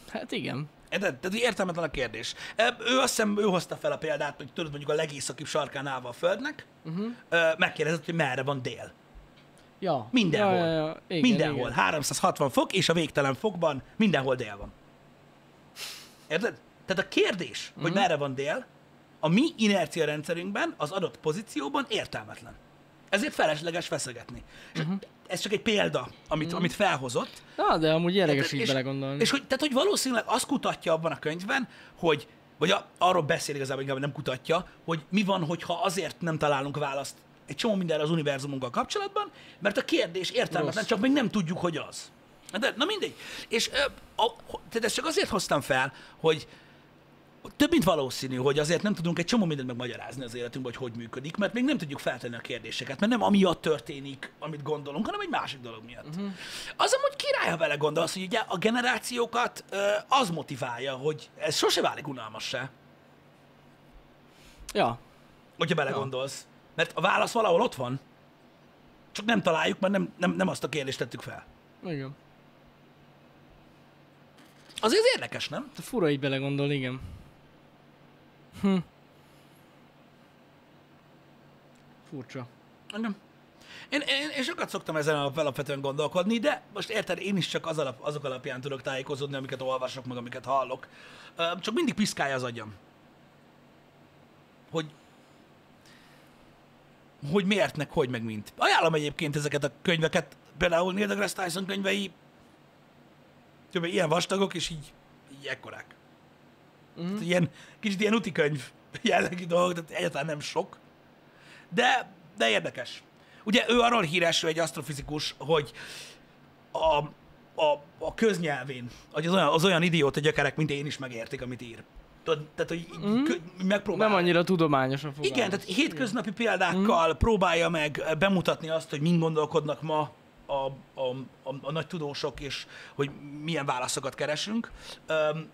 [SPEAKER 2] Hát igen.
[SPEAKER 1] Érted? Tehát így értelmetlen a kérdés. Ö, Ő azt hiszem, ő hozta fel a példát, hogy tudod, mondjuk a legészakibb sarkán állva a Földnek, uh-huh. megkérdezett, hogy merre van dél.
[SPEAKER 2] Ja.
[SPEAKER 1] Mindenhol.
[SPEAKER 2] Ja, ja, ja. Igen,
[SPEAKER 1] mindenhol.
[SPEAKER 2] Igen.
[SPEAKER 1] 360 fok, és a végtelen fokban mindenhol dél van. Érted? Tehát a kérdés,
[SPEAKER 2] Mhm.
[SPEAKER 1] hogy merre van dél, a mi inercia rendszerünkben, az adott pozícióban értelmetlen. Ezért felesleges feszegetni.
[SPEAKER 2] Mhm.
[SPEAKER 1] Uh-huh. Ez csak egy példa, amit, uh-huh. amit felhozott.
[SPEAKER 2] Na, de amúgy érdekes
[SPEAKER 1] Tehát,
[SPEAKER 2] így belegondolni.
[SPEAKER 1] Hát, És hogy, tehát, hogy valószínűleg azt kutatja abban a könyvben, hogy, vagy a, arról beszél igazából, inkább nem kutatja, hogy mi van, hogyha azért nem találunk választ egy csomó mindenre az univerzumunkkal kapcsolatban, mert a kérdés értelmetlen,
[SPEAKER 2] Rossz.
[SPEAKER 1] csak még nem tudjuk, hogy az. Na De, na mindegy. És ö, a, tehát ezt csak azért hoztam fel, hogy több mint valószínű, hogy azért nem tudunk egy csomó mindent megmagyarázni az életünkben, hogy hogy működik, mert még nem tudjuk feltenni a kérdéseket, mert nem amiatt történik, amit gondolunk, hanem egy másik dolog miatt.
[SPEAKER 2] Mhm.
[SPEAKER 1] Uh-huh. Az amúgy király, ha vele gondolsz, hogy ugye a generációkat ö, az motiválja, hogy ez sose válik unalmassá,
[SPEAKER 2] Ja,
[SPEAKER 1] hogyha belegondolsz. Mert a válasz valahol ott van, csak nem találjuk, mert nem, nem, nem azt a kérdést tettük fel.
[SPEAKER 2] igen.
[SPEAKER 1] Azért ez érdekes, nem?
[SPEAKER 2] Te Hát, fura így belegondol, igen. Hm. Furcsa.
[SPEAKER 1] Igen. Én, én, én sokat szoktam ezen alap, alapvetően gondolkodni, de most érted, én is csak az alap, azok alapján tudok tájékozódni, amiket olvasok, meg amiket hallok. Ö, Csak mindig piszkálja az agyam. Hogy hogy miért, meg hogy, meg mint. Ajánlom egyébként ezeket a könyveket, például Neil deGrasse Tyson könyvei, tudom, ilyen vastagok, és így, így ekkorák.
[SPEAKER 2] Mhm.
[SPEAKER 1] Mm. Ilyen, kicsit ilyen utikönyv jellegű dolgok, tehát egyáltalán nem sok, de, de érdekes. Ugye ő arról híres, ő egy asztrofizikus, hogy a, a, a köznyelvén, hogy az olyan, az olyan idióta gyökerek, mint én is megértik, amit ír. Tudod, Tehát, hogy így kö- megpróbál.
[SPEAKER 2] Mhm. Nem annyira tudományos a fogalmaz.
[SPEAKER 1] Igen, tehát hétköznapi példákkal próbálja meg eh, bemutatni azt, hogy mind gondolkodnak ma a, a, a, a nagy tudósok, és hogy milyen válaszokat keresünk. Öm,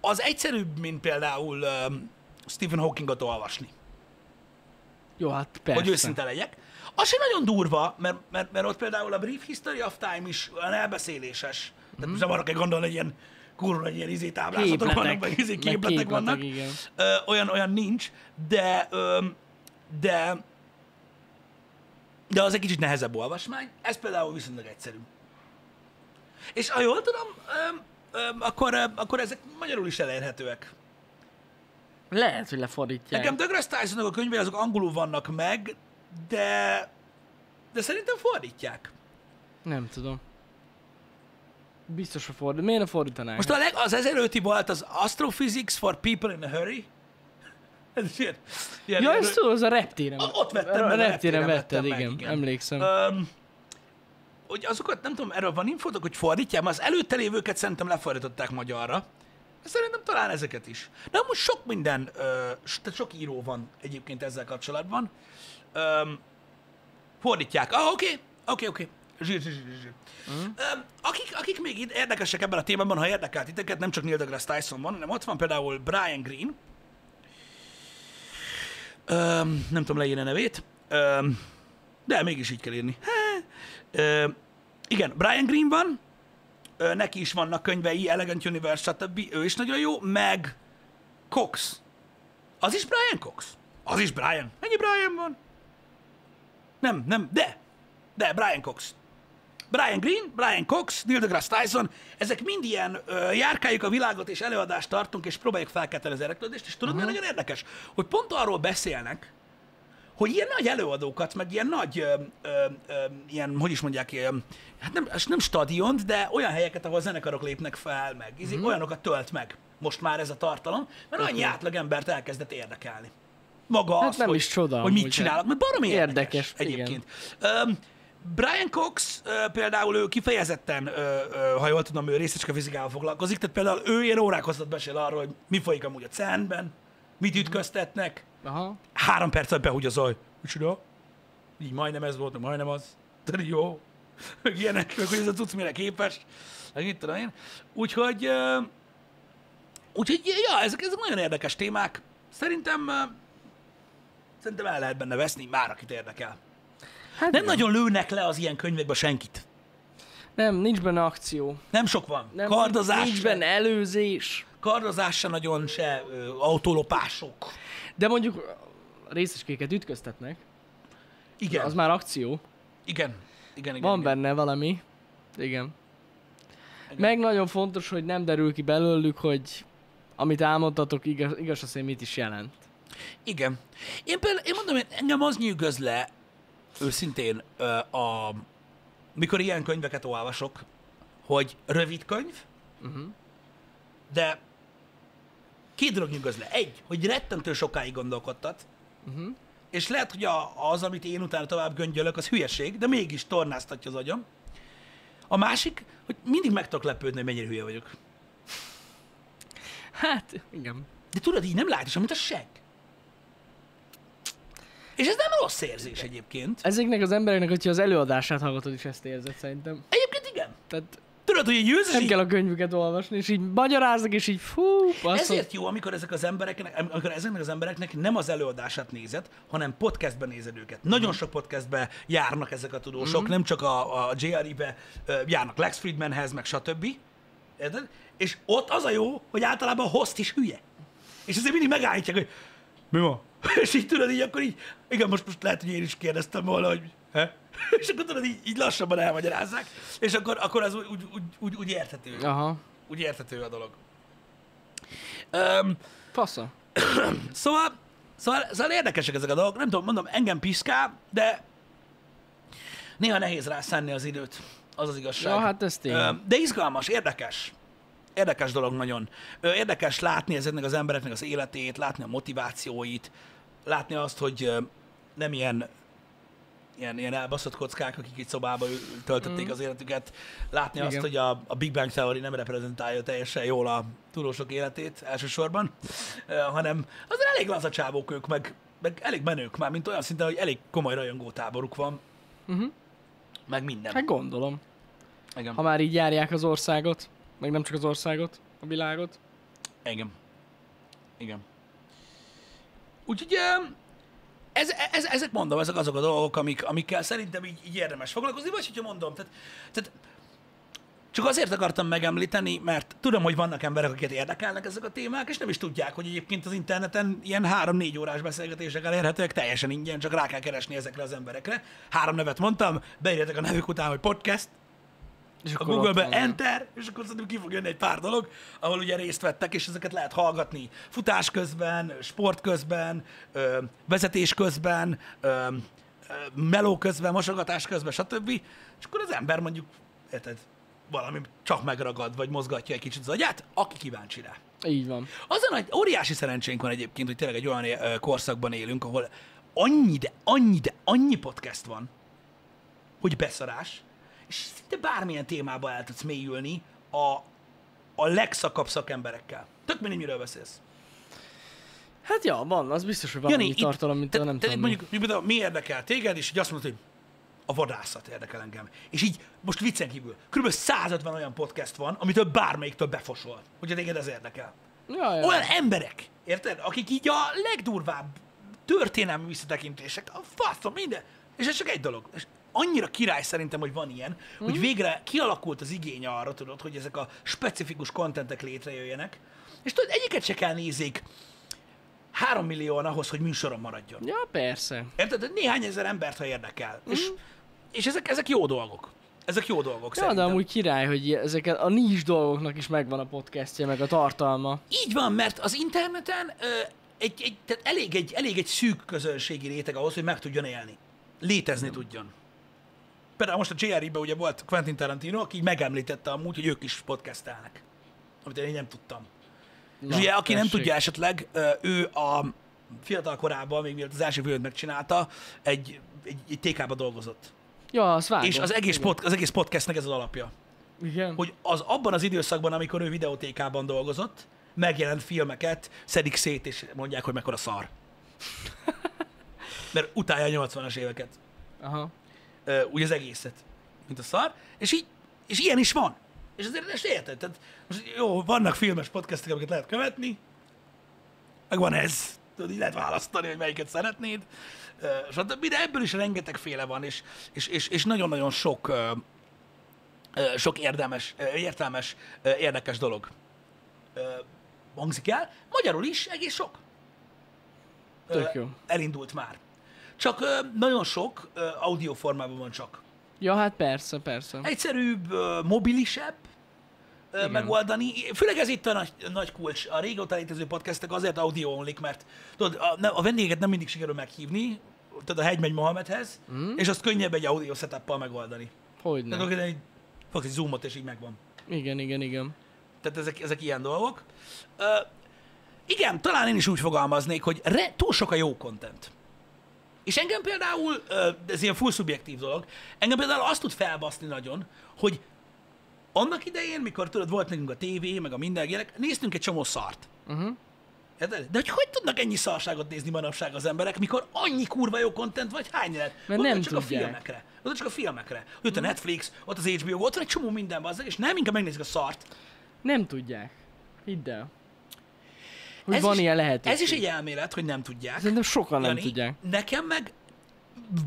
[SPEAKER 1] Az egyszerűbb, mint például öm, Stephen Hawkingot olvasni,
[SPEAKER 2] Jó, hát persze.
[SPEAKER 1] hogy őszinte legyek. Az sem nagyon durva, mert, mert, mert ott például a Brief History of Time is olyan elbeszéléses. Tehát most nem arra kell gondolni, hogy ilyen kurva, ilyen izé táblázatok vannak,
[SPEAKER 2] Mhm. Képletek.
[SPEAKER 1] meg izé
[SPEAKER 2] meg
[SPEAKER 1] képletek vannak.
[SPEAKER 2] Igen.
[SPEAKER 1] Ö, olyan, olyan nincs, de, ö, de, de az egy kicsit nehezebb olvasmány, ez például viszonylag egyszerű. És ha jól tudom, ö, ö, akkor, ö, akkor ezek magyarul is elérhetőek.
[SPEAKER 2] Lehet, hogy lefordítják.
[SPEAKER 1] Nekem Douglas tyson a könyvei azok angolul vannak meg, de, de szerintem fordítják.
[SPEAKER 2] Nem tudom. Biztos, hogy fordít. Miért ne fordítanák?
[SPEAKER 1] Most a leg, az ezelőtti volt az Astrophysics for People in a Hurry. Ez is ilyen, ilyen,
[SPEAKER 2] Ja,
[SPEAKER 1] ilyen-
[SPEAKER 2] ezt tudod, az a reptéren.
[SPEAKER 1] A- ott vettem meg,
[SPEAKER 2] A
[SPEAKER 1] a reptéren
[SPEAKER 2] reptéren
[SPEAKER 1] vettem
[SPEAKER 2] vetted,
[SPEAKER 1] meg,
[SPEAKER 2] igen.
[SPEAKER 1] igen.
[SPEAKER 2] Emlékszem.
[SPEAKER 1] Öm, hogy azokat, nem tudom, erről van infotok, hogy fordítják, mert az előtte lévőket szerintem lefordították magyarra. Szerintem talán ezeket is. De most sok minden, ö, s- tehát sok író van egyébként ezzel kapcsolatban. Öm, fordítják. Ah, oké, oké, oké. Zsír, zsír, zsír, zsír. Öm, Akik, akik még id- érdekesek ebben a témában, ha érdekel titeket, nem csak Neil deGrasse Tyson van, hanem ott van például Brian Green. Öm, nem tudom leírni a nevét. Öm, de mégis így kell írni. Ö, igen, Brian Green van, ö, neki is vannak könyvei, Elegant Universe, stb. Ő is nagyon jó, meg Cox. Az is Brian Cox? Az is Brian. Mennyi Brian van? Nem, nem, de. De, Brian Cox. Brian Green, Brian Cox, Neil deGrasse Tyson, ezek mind ilyen ö, járkáljuk a világot, és előadást tartunk, és próbáljuk felkelteni az érdeklődést, és tudod,
[SPEAKER 2] Mhm.
[SPEAKER 1] uh-huh. nagyon érdekes, hogy pont arról beszélnek, hogy ilyen nagy előadókat, meg ilyen nagy, ö, ö, ö, ilyen, hogy is mondják, ö, hát nem, s- nem stadiont, de olyan helyeket, ahol zenekarok lépnek fel, meg mm.
[SPEAKER 2] Mhm.
[SPEAKER 1] olyanokat tölt meg most már ez a tartalom, mert annyi átlag embert elkezdett érdekelni. Maga
[SPEAKER 2] Hát
[SPEAKER 1] az,
[SPEAKER 2] nem
[SPEAKER 1] hogy,
[SPEAKER 2] is csoda,
[SPEAKER 1] hogy mit
[SPEAKER 2] amúgy, hát.
[SPEAKER 1] csinálnak, mert baromi érdekes,
[SPEAKER 2] Érdekes, igen.
[SPEAKER 1] egyébként. Öm, Brian Cox ö, például ő kifejezetten, ö, ö, ha jól tudom, ő részecske fizikával foglalkozik, tehát például ő ilyen órák hosszat besél arról, hogy mi folyik amúgy a cern mit
[SPEAKER 2] Mhm.
[SPEAKER 1] ütköztetnek,
[SPEAKER 2] Aha.
[SPEAKER 1] három perc alatt behugyazol. Micsoda? Így majdnem ez volt, meg majdnem az. De jó. Meg ilyenek, meg hogy ez a cucc mire képes. Meg mit tudom én. Úgyhogy, ö, úgyhogy ja, ezek, ezek nagyon érdekes témák. Szerintem, ö, szerintem el lehet benne veszni, már akit érdekel.
[SPEAKER 2] Hát
[SPEAKER 1] Nem
[SPEAKER 2] igen.
[SPEAKER 1] nagyon lőnek le az ilyen könyvekbe senkit.
[SPEAKER 2] Nem, nincs benne akció.
[SPEAKER 1] Nem sok van.
[SPEAKER 2] Nem,
[SPEAKER 1] kardozás,
[SPEAKER 2] Nincs
[SPEAKER 1] se-
[SPEAKER 2] benne előzés.
[SPEAKER 1] kardozás se nagyon, se ö, autólopások.
[SPEAKER 2] De mondjuk a részeskéket ütköztetnek.
[SPEAKER 1] Igen,
[SPEAKER 2] Az már akció.
[SPEAKER 1] igen, igen, igen.
[SPEAKER 2] Van
[SPEAKER 1] igen.
[SPEAKER 2] benne valami. Igen. Meg nagyon fontos, hogy nem derül ki belőlük, hogy amit álmodtatok, igaz, igaz az, hogy mit is jelent.
[SPEAKER 1] Igen. Én például, én mondom, én engem az nyűgöz le, őszintén, ö, a, mikor ilyen könyveket olvasok, hogy rövid könyv,
[SPEAKER 2] Uh-huh.
[SPEAKER 1] de két dolog nyugoz le. Egy, hogy rettentő sokáig gondolkodtat,
[SPEAKER 2] Uh-huh.
[SPEAKER 1] és lehet, hogy a, az, amit én utána tovább göngyölök, az hülyeség, de mégis tornáztatja az agyam. A másik, hogy mindig meg tudok lepődni, hogy mennyire hülye vagyok.
[SPEAKER 2] Hát, igen.
[SPEAKER 1] De tudod, így nem látod, mint a seg. És ez nem rossz érzés egyébként.
[SPEAKER 2] Ezeknek az embereknek, hogyha az előadását hallgatod, is ezt érzed szerintem.
[SPEAKER 1] Egyébként igen.
[SPEAKER 2] Tehát
[SPEAKER 1] Tudod, hogy egy őzes
[SPEAKER 2] nem
[SPEAKER 1] így
[SPEAKER 2] kell a könyvüket olvasni, és így magyaráznak, és így fú, passzol.
[SPEAKER 1] Ezért jó, amikor, ezek az embereknek, am- amikor ezeknek az embereknek nem az előadását nézed, hanem podcastben nézed őket. Nagyon sok podcastben járnak ezek a tudósok, nem csak a, a JRE-be ö, járnak Lex Friedmanhez, meg stb. Érted? És ott az a jó, hogy általában a host is hülye. És ezért mindig megállítják, hogy mi van? <laughs> És így tudod, így akkor így, igen, most, most lehet, hogy én is kérdeztem volna, hogy he? <laughs> És akkor tudod, így, így lassabban elmagyarázzák, és akkor, akkor az úgy, úgy, úgy- úgy, úgy érthető.
[SPEAKER 2] Aha,
[SPEAKER 1] Úgy érthető a dolog. Um,
[SPEAKER 2] passza.
[SPEAKER 1] szóval, szóval, szóval érdekesek ezek a dolgok. Nem tudom, mondom, engem piszkál, de néha nehéz rászánni az időt. Az az igazság.
[SPEAKER 2] Ja, hát ez tény.
[SPEAKER 1] Öm, De izgalmas, érdekes. Érdekes dolog nagyon. Ö, Érdekes látni ezeknek az embereknek az életét, látni a motivációit, látni azt, hogy ö, nem ilyen ilyen, ilyen elbaszott kockák, akik itt szobába ül- töltötték mm. az életüket. Látni Igen. azt,
[SPEAKER 2] Mhm. Igen.
[SPEAKER 1] hogy a, a Big Bang Theory nem reprezentálja teljesen jól a tudósok életét elsősorban, ö, hanem azért elég laza csávók ők, meg, meg elég menők már, mint olyan szinten, hogy elég komoly rajongótáboruk van,
[SPEAKER 2] Uh-huh.
[SPEAKER 1] meg minden.
[SPEAKER 2] Hát gondolom.
[SPEAKER 1] Igen.
[SPEAKER 2] Ha már így járják az országot, meg nem csak az országot, a világot.
[SPEAKER 1] Igen. Igen. Úgyhogy em, ez, ez, ezek mondom, ezek azok a dolgok, amik, amikkel szerintem így, így érdemes foglalkozni, vagy hogyha mondom, tehát, tehát csak azért akartam megemlíteni, mert tudom, hogy vannak emberek, akiket érdekelnek ezek a témák, és nem is tudják, hogy egyébként az interneten ilyen 3-4 órás beszélgetések elérhetőek teljesen ingyen, csak rá kell keresni ezekre az emberekre. Három nevet mondtam, beírjátok a nevük után, hogy podcast,
[SPEAKER 2] És
[SPEAKER 1] a
[SPEAKER 2] akkor ott
[SPEAKER 1] Google-be
[SPEAKER 2] vannak.
[SPEAKER 1] Enter, és akkor szerintem ki fog jönni egy pár dolog, ahol ugye részt vettek, és ezeket lehet hallgatni futás közben, sport közben, ö, vezetés közben, ö, ö, meló közben, mosogatás közben, stb. És akkor az ember mondjuk, érted, valami csak megragad, vagy mozgatja egy kicsit az agyát, aki kíváncsi rá.
[SPEAKER 2] Így van.
[SPEAKER 1] Az a nagy, óriási szerencsénk van egyébként, hogy tényleg egy olyan ö, korszakban élünk, ahol annyi, de annyi, de annyi podcast van, hogy beszarás, és szinte bármilyen témába el tudsz mélyülni a, a legszakabb szakemberekkel. Tök mindegy, miről beszélsz.
[SPEAKER 2] Hát ja, van, az biztos, hogy van annyi
[SPEAKER 1] itt-
[SPEAKER 2] tartalom, mint a
[SPEAKER 1] te-
[SPEAKER 2] nem
[SPEAKER 1] te-
[SPEAKER 2] tudom. mi.
[SPEAKER 1] Mondjuk, mondjuk, például mi érdekel téged, és így azt mondod, hogy a vadászat érdekel engem. És így most viccen kívül, kb. 150 olyan podcast van, amitől bármelyiktől befosol, hogyha téged ez érdekel.
[SPEAKER 2] Ja, ja.
[SPEAKER 1] Olyan emberek, érted? Akik így a legdurvább történelmi visszatekintések, a faszom, minden. És ez csak egy dolog. És annyira király szerintem, hogy van ilyen,
[SPEAKER 2] Hm?
[SPEAKER 1] mm. hogy végre kialakult az igény arra, tudod, hogy ezek a specifikus kontentek létrejöjjenek. És tudod, egyiket se kell nézik három millióan ahhoz, hogy műsoron maradjon.
[SPEAKER 2] Ja, persze.
[SPEAKER 1] Érted? Tehát Néhány ezer embert, ha érdekel. Mm. És, és ezek, ezek jó dolgok. Ezek jó dolgok
[SPEAKER 2] Hm? Ja, de
[SPEAKER 1] szerintem.
[SPEAKER 2] amúgy király, hogy ezeket a nincs dolgoknak is megvan a podcastje, meg a tartalma.
[SPEAKER 1] Így van, mert az interneten ö, egy, egy, tehát elég, egy, elég egy szűk közönségi réteg ahhoz, hogy meg tudjon élni. Létezni tudjon. Például most a JRI-ben ugye volt Quentin Tarantino, aki így megemlítette amúgy, hogy ők is podcastelnek. Amit én így nem tudtam.
[SPEAKER 2] Na,
[SPEAKER 1] És ugye, aki nem
[SPEAKER 2] tessék.
[SPEAKER 1] tudja esetleg, ö, ő a fiatal korában, még mielőtt az első főt megcsinálta, egy, egy, egy TK-ba dolgozott.
[SPEAKER 2] Ja, az vágom.
[SPEAKER 1] És az egész, pod, az egész podcastnek ez az alapja
[SPEAKER 2] Igen. Hogy...
[SPEAKER 1] hogy az abban az időszakban, amikor ő videótékában dolgozott, megjelent filmeket szedik szét, és mondják, hogy mekkora szar. Mert utálja a 80-as éveket,
[SPEAKER 2] Aha.
[SPEAKER 1] Ö, úgy az egészet, mint a szar, és így, és ilyen is van. És azért ezt érted, tehát most jó, vannak filmes podcastek, amiket lehet követni, meg van ez, tudod, így lehet választani, hogy melyiket szeretnéd, Ö, stb. De ebből is rengeteg féle van, és, és, és, és nagyon-nagyon sok, ö, ö, sok érdemes, ö, értelmes, ö, érdekes dolog ö, hangzik el. Magyarul is egész sok. Ö,
[SPEAKER 2] Tök jó.
[SPEAKER 1] Elindult már. Csak ö, nagyon sok ö, audio formában van csak.
[SPEAKER 2] Ja, hát persze, persze.
[SPEAKER 1] Egyszerűbb, ö, mobilisebb ö, megoldani. Főleg ez itt a nagy, nagy kulcs. A régóta létező podcastek azért audio only mert tudod, a, nem- a vendéget nem mindig sikerül meghívni, tehát a hegy megy Mohamedhez, mm. és azt könnyebb egy audio setup megoldani.
[SPEAKER 2] Hogyne.
[SPEAKER 1] Tehát akkor egy, fogsz egy zoomot, és így megvan.
[SPEAKER 2] Igen, igen, igen.
[SPEAKER 1] Tehát ezek, ezek ilyen dolgok. Ö, igen, talán én is úgy fogalmaznék, hogy re, túl sok a jó content. És engem például, ö, de ez ilyen full szubjektív dolog, engem például azt tud felbaszni nagyon, hogy annak idején, mikor tudod, volt nekünk a tévé, meg a minden ilyenek, néztünk egy csomó szart.
[SPEAKER 2] Uh-huh.
[SPEAKER 1] Érted? De hogy hogy tudnak ennyi szarságot nézni manapság az emberek, mikor annyi kurva jó kontent vagy hány lehet? Mert
[SPEAKER 2] nem
[SPEAKER 1] csak
[SPEAKER 2] tudják. Mhm.
[SPEAKER 1] a filmekre. Ott csak a filmekre. Ott a Netflix, ott az HBO, ott van egy csomó minden bazzeg, és nem inkább megnézik a szart.
[SPEAKER 2] Nem tudják. Hidd el. Hogy
[SPEAKER 1] Ez
[SPEAKER 2] van
[SPEAKER 1] is-
[SPEAKER 2] ilyen lehetőség.
[SPEAKER 1] Ez is egy elmélet, hogy nem tudják.
[SPEAKER 2] Szerintem sokan nem
[SPEAKER 1] Jani,
[SPEAKER 2] tudják.
[SPEAKER 1] Nekem meg,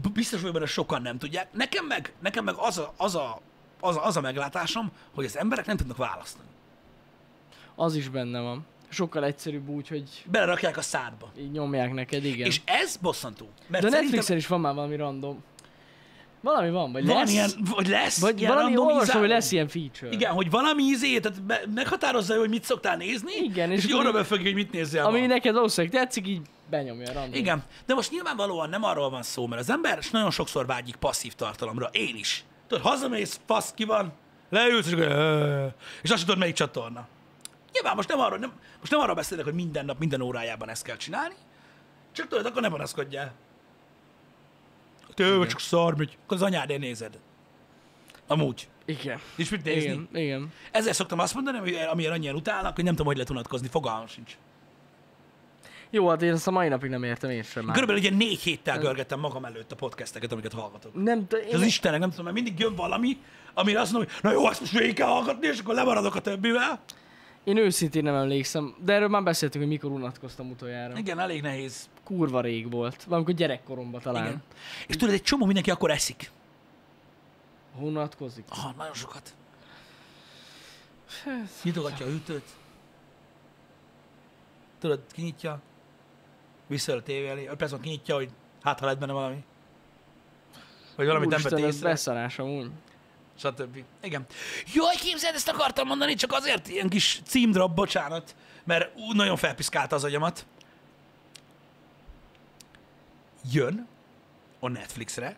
[SPEAKER 1] b- biztos vagyok benne, sokan nem tudják, nekem meg, nekem meg az, a, az, a, az, a, az a meglátásom, hogy az emberek nem tudnak választani.
[SPEAKER 2] Az is benne van. Sokkal egyszerűbb úgy, hogy
[SPEAKER 1] Belerakják a szádba.
[SPEAKER 2] így nyomják neked, igen.
[SPEAKER 1] És ez bosszantó. Mert
[SPEAKER 2] De a
[SPEAKER 1] szerintem
[SPEAKER 2] Netflixen is van már valami random. Valami van, vagy
[SPEAKER 1] van
[SPEAKER 2] lesz.
[SPEAKER 1] ilyen, vagy lesz,
[SPEAKER 2] vagy
[SPEAKER 1] ilyen
[SPEAKER 2] valami
[SPEAKER 1] randomizáló.
[SPEAKER 2] olvasom, hogy lesz ilyen feature.
[SPEAKER 1] Igen, hogy valami izé, tehát be- meghatározza, hogy mit szoktál nézni,
[SPEAKER 2] Igen,
[SPEAKER 1] és,
[SPEAKER 2] és
[SPEAKER 1] és
[SPEAKER 2] akkor
[SPEAKER 1] arra
[SPEAKER 2] így-
[SPEAKER 1] befogja, hogy mit nézzél
[SPEAKER 2] Ami
[SPEAKER 1] ma.
[SPEAKER 2] neked valószínűleg tetszik, így benyomja a random.
[SPEAKER 1] Igen, de most nyilvánvalóan nem arról van szó, mert az ember s nagyon sokszor vágyik passzív tartalomra. Én is. Tudod, hazamész, fasz, ki van, leülsz, és, akkor, "Ö", és azt sem tudod, melyik csatorna. Nyilván most nem arról, nem, most nem arról beszélek, hogy minden nap, minden órájában ezt kell csinálni, csak tudod, akkor ne panaszkodjál. Tőle csak szar, hogy akkor az anyádén nézed. Amúgy.
[SPEAKER 2] Igen.
[SPEAKER 1] És mit nézni?
[SPEAKER 2] Igen, igen.
[SPEAKER 1] Ezzel szoktam azt mondani, ami- amilyen annyian utálnak, hogy nem tudom, hogy lehet unatkozni, fogalmam sincs.
[SPEAKER 2] Jó, hát én ezt a mai napig nem értem én sem már.
[SPEAKER 1] Körülbelül ugye négy héttel görgettem magam előtt a podcasteket, amiket hallgatok.
[SPEAKER 2] Nem, de
[SPEAKER 1] És
[SPEAKER 2] én...
[SPEAKER 1] az Istenek, nem tudom, mert mindig jön valami, amire azt mondom, hogy na jó, azt most végig kell hallgatni, és akkor lemaradok a többivel.
[SPEAKER 2] Én őszintén nem emlékszem, de erről már beszéltünk, hogy mikor unatkoztam utoljára.
[SPEAKER 1] Igen, elég nehéz.
[SPEAKER 2] Kurva rég volt, valamikor gyerekkoromban talán.
[SPEAKER 1] Igen. És tudod, egy csomó mindenki akkor eszik.
[SPEAKER 2] Ha Unatkozik.
[SPEAKER 1] Aha, nagyon sokat. Nyitogatja a hűtőt. Tudod, kinyitja. Vissza a tévé elé. Öt percben kinyitja, hogy hát ha lett benne valami. Vagy valamit nem vett
[SPEAKER 2] Úristen, ez
[SPEAKER 1] észre.
[SPEAKER 2] beszarás amúgy.
[SPEAKER 1] stb. Igen. Jaj, képzeld, ezt akartam mondani, csak azért ilyen kis címdrab, bocsánat, mert ú, nagyon felpiszkálta az agyamat. Jön a Netflixre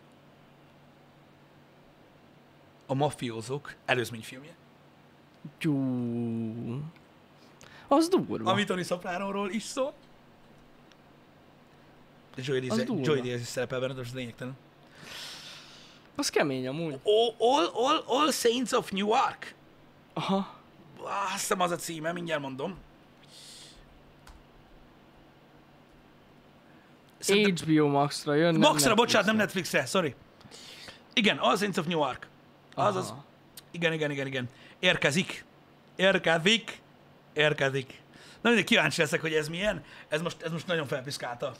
[SPEAKER 1] a mafiózók előzményfilmje.
[SPEAKER 2] Tyú. Az durva.
[SPEAKER 1] Ami Tony Soprano-ról is szól. De Joey
[SPEAKER 2] Az
[SPEAKER 1] Diaz,
[SPEAKER 2] durva.
[SPEAKER 1] Joey Diaz is szerepel benne, de most lényegtelen.
[SPEAKER 2] Az kemény amúgy.
[SPEAKER 1] All, all, all, all Saints of Newark.
[SPEAKER 2] Aha.
[SPEAKER 1] Á, Azt hiszem az a címe, mindjárt mondom. Szerintem-
[SPEAKER 2] HBO Maxra jön. nem
[SPEAKER 1] Maxra, bocsánat, nem
[SPEAKER 2] Netflixre.
[SPEAKER 1] Netflixre, sorry. Igen, az Saints of Newark. Az az.
[SPEAKER 2] Aha.
[SPEAKER 1] Igen, igen, igen, igen. Érkezik. Érkezik. Érkezik. Na mindig kíváncsi leszek, hogy ez milyen. Ez most, ez most nagyon felpiszkálta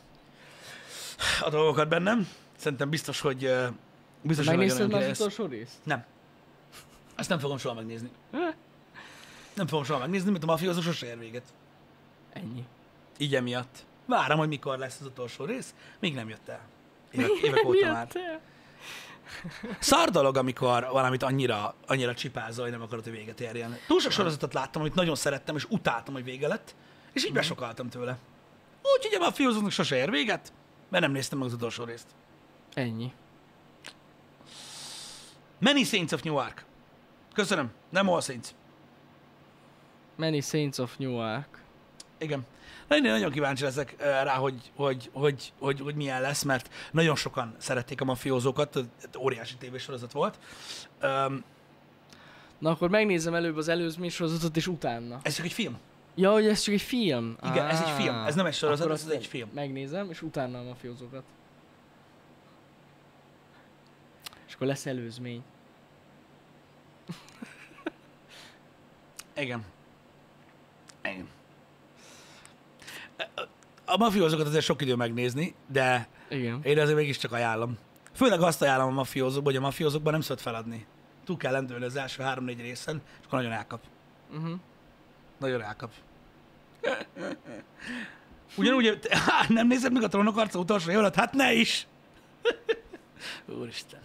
[SPEAKER 1] a dolgokat bennem. Szerintem biztos, hogy ö, biztos, hogy nagyon,
[SPEAKER 2] Megnézted
[SPEAKER 1] nagyon
[SPEAKER 2] már az
[SPEAKER 1] király lesz.
[SPEAKER 2] utolsó részt?
[SPEAKER 1] Nem. Ezt nem fogom soha megnézni. Nem fogom soha megnézni, mert a mafiózó sose ér véget.
[SPEAKER 2] Ennyi.
[SPEAKER 1] Így emiatt. Várom, hogy mikor lesz az utolsó rész. Még nem jött el. Évek, évek óta már.
[SPEAKER 2] Miért te?
[SPEAKER 1] Szar dolog, amikor valamit annyira, annyira csipázol, hogy nem akarod, hogy véget érjen. Túl sok sorozatot láttam, amit nagyon szerettem, és utáltam, hogy vége lett, és így besokaltam tőle. Úgyhogy a fiózóknak sose ér véget, mert nem néztem meg az utolsó részt.
[SPEAKER 2] Ennyi.
[SPEAKER 1] Many Saints of Newark. Köszönöm. Nem All Saints.
[SPEAKER 2] Many Saints of Newark.
[SPEAKER 1] Igen. Na, én nagyon kíváncsi leszek eh, rá, hogy, hogy, hogy, hogy, hogy milyen lesz, mert nagyon sokan szerették a mafiózókat, ö, óriási tévésorozat volt. Um,
[SPEAKER 2] Na akkor megnézem előbb az előzmény sorozatot, és utána.
[SPEAKER 1] ez csak egy film.
[SPEAKER 2] Ja, hogy ez csak egy film.
[SPEAKER 1] Igen, ez egy film.
[SPEAKER 2] Á,
[SPEAKER 1] Ez nem egy sorozat,
[SPEAKER 2] akkor
[SPEAKER 1] ez
[SPEAKER 2] azt
[SPEAKER 1] egy film.
[SPEAKER 2] Megnézem, és utána a mafiózókat. És akkor lesz előzmény.
[SPEAKER 1] Igen. Igen. A mafiózókat azért sok idő megnézni, de
[SPEAKER 2] Igen.
[SPEAKER 1] én azért mégiscsak ajánlom. Főleg azt ajánlom a mafiózókban, hogy a mafiózókban nem szabad feladni. Túl kell lendülni az első három-négy részen, és akkor nagyon elkap.
[SPEAKER 2] Uh-huh.
[SPEAKER 1] Nagyon rákap. Ugyanúgy, hát nem nézed meg a trónok arca utolsó évad? Hát ne is! Úristen.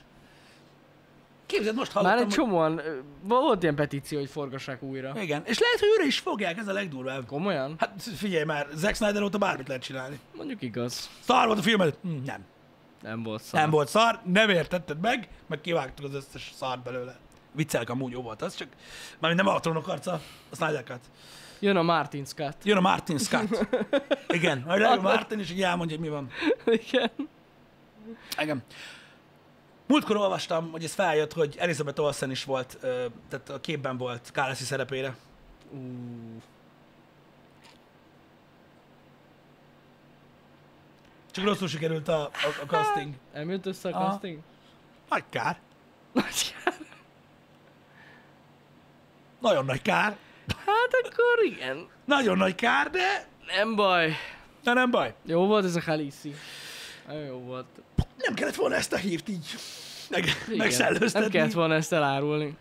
[SPEAKER 1] Képzeld, most hallottam,
[SPEAKER 2] Már egy
[SPEAKER 1] hogy-
[SPEAKER 2] csomóan... ö, Volt ilyen petíció, hogy forgassák újra.
[SPEAKER 1] Igen, és lehet, hogy őre is fogják, ez a legdurvább.
[SPEAKER 2] Komolyan?
[SPEAKER 1] Hát figyelj már, Zack Snyder óta bármit lehet csinálni.
[SPEAKER 2] Mondjuk igaz.
[SPEAKER 1] Star Wars a filmet? Hm, Nem.
[SPEAKER 2] Nem volt szar.
[SPEAKER 1] Szar. Nem volt szar, nem értetted meg, meg kivágtuk az összes szart belőle. Viccelek, amúgy jó volt az, csak már nem a trónok arca, a Snyder Cut.
[SPEAKER 2] Jön a Martin
[SPEAKER 1] <laughs>
[SPEAKER 2] Scott.
[SPEAKER 1] Jön a Martin
[SPEAKER 2] <laughs>
[SPEAKER 1] Scott. Igen, majd a Martin is így elmondja, hogy mi van.
[SPEAKER 2] Igen.
[SPEAKER 1] Igen. Múltkor olvastam, hogy ez feljött, hogy Elizabeth Olsen is volt, ö, tehát a képben volt Káleszi szerepére.
[SPEAKER 2] Ú,
[SPEAKER 1] Csak rosszul sikerült a, a, a casting.
[SPEAKER 2] nem jött össze a
[SPEAKER 1] Aha.
[SPEAKER 2] casting?
[SPEAKER 1] Hát,
[SPEAKER 2] <laughs>
[SPEAKER 1] Nagy kár.
[SPEAKER 2] Nagy-
[SPEAKER 1] Nagyon nagy kár.
[SPEAKER 2] Hát akkor igen.
[SPEAKER 1] Nagyon nagy kár, de,
[SPEAKER 2] Nem baj.
[SPEAKER 1] de nem baj.
[SPEAKER 2] Jó volt ez a Khaleesi. Nagyon jó volt.
[SPEAKER 1] Nem kellett volna ezt a hírt így meg,
[SPEAKER 2] Igen. Nem
[SPEAKER 1] megszellőztetni.
[SPEAKER 2] kellett volna ezt elárulni.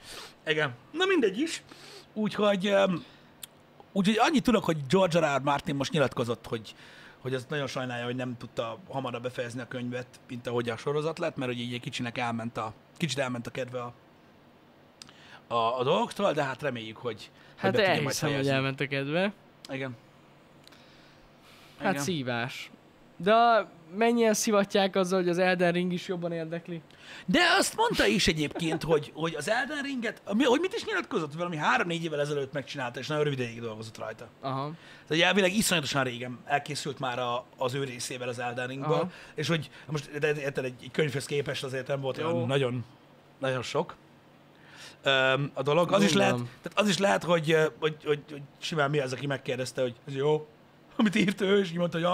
[SPEAKER 1] Igen. Na mindegy is. Úgyhogy, um, úgyhogy annyit tudok, hogy George R. R. Martin most nyilatkozott, hogy, hogy az nagyon sajnálja, hogy nem tudta hamarabb befejezni a könyvet, mint ahogy a sorozat lett, mert hogy így egy kicsinek elment a, kicsit elment a kedve a, a, a dolgoktól, de hát reméljük, hogy hogy
[SPEAKER 2] Hát
[SPEAKER 1] be tudja majd
[SPEAKER 2] elhiszem, hogy
[SPEAKER 1] fejezni.
[SPEAKER 2] elment a kedve.
[SPEAKER 1] Igen.
[SPEAKER 2] Hát
[SPEAKER 1] Igen.
[SPEAKER 2] szívás. De mennyien szivatják azzal, hogy az Elden Ring is jobban érdekli?
[SPEAKER 1] De azt mondta is egyébként, hogy, hogy az Elden Ringet, ami- hogy mit is nyilatkozott, hogy valami három-négy évvel ezelőtt megcsinálta, és nagyon rövid ideig dolgozott rajta.
[SPEAKER 2] Aha.
[SPEAKER 1] Tehát elvileg iszonyatosan régen elkészült már a, az ő részével az Elden Ringből,
[SPEAKER 2] Aha.
[SPEAKER 1] és hogy most de, de, érted, egy, egy könyvhöz képest azért nem volt
[SPEAKER 2] Jó.
[SPEAKER 1] olyan nagyon, nagyon sok öm, a dolog. Az is, lehet,
[SPEAKER 2] Gondolom.
[SPEAKER 1] tehát az is lehet, hogy, ö, hogy, hogy, hogy simán mi az, aki megkérdezte, hogy ez jó, <laughs> amit írt ő, és így mondta, hogy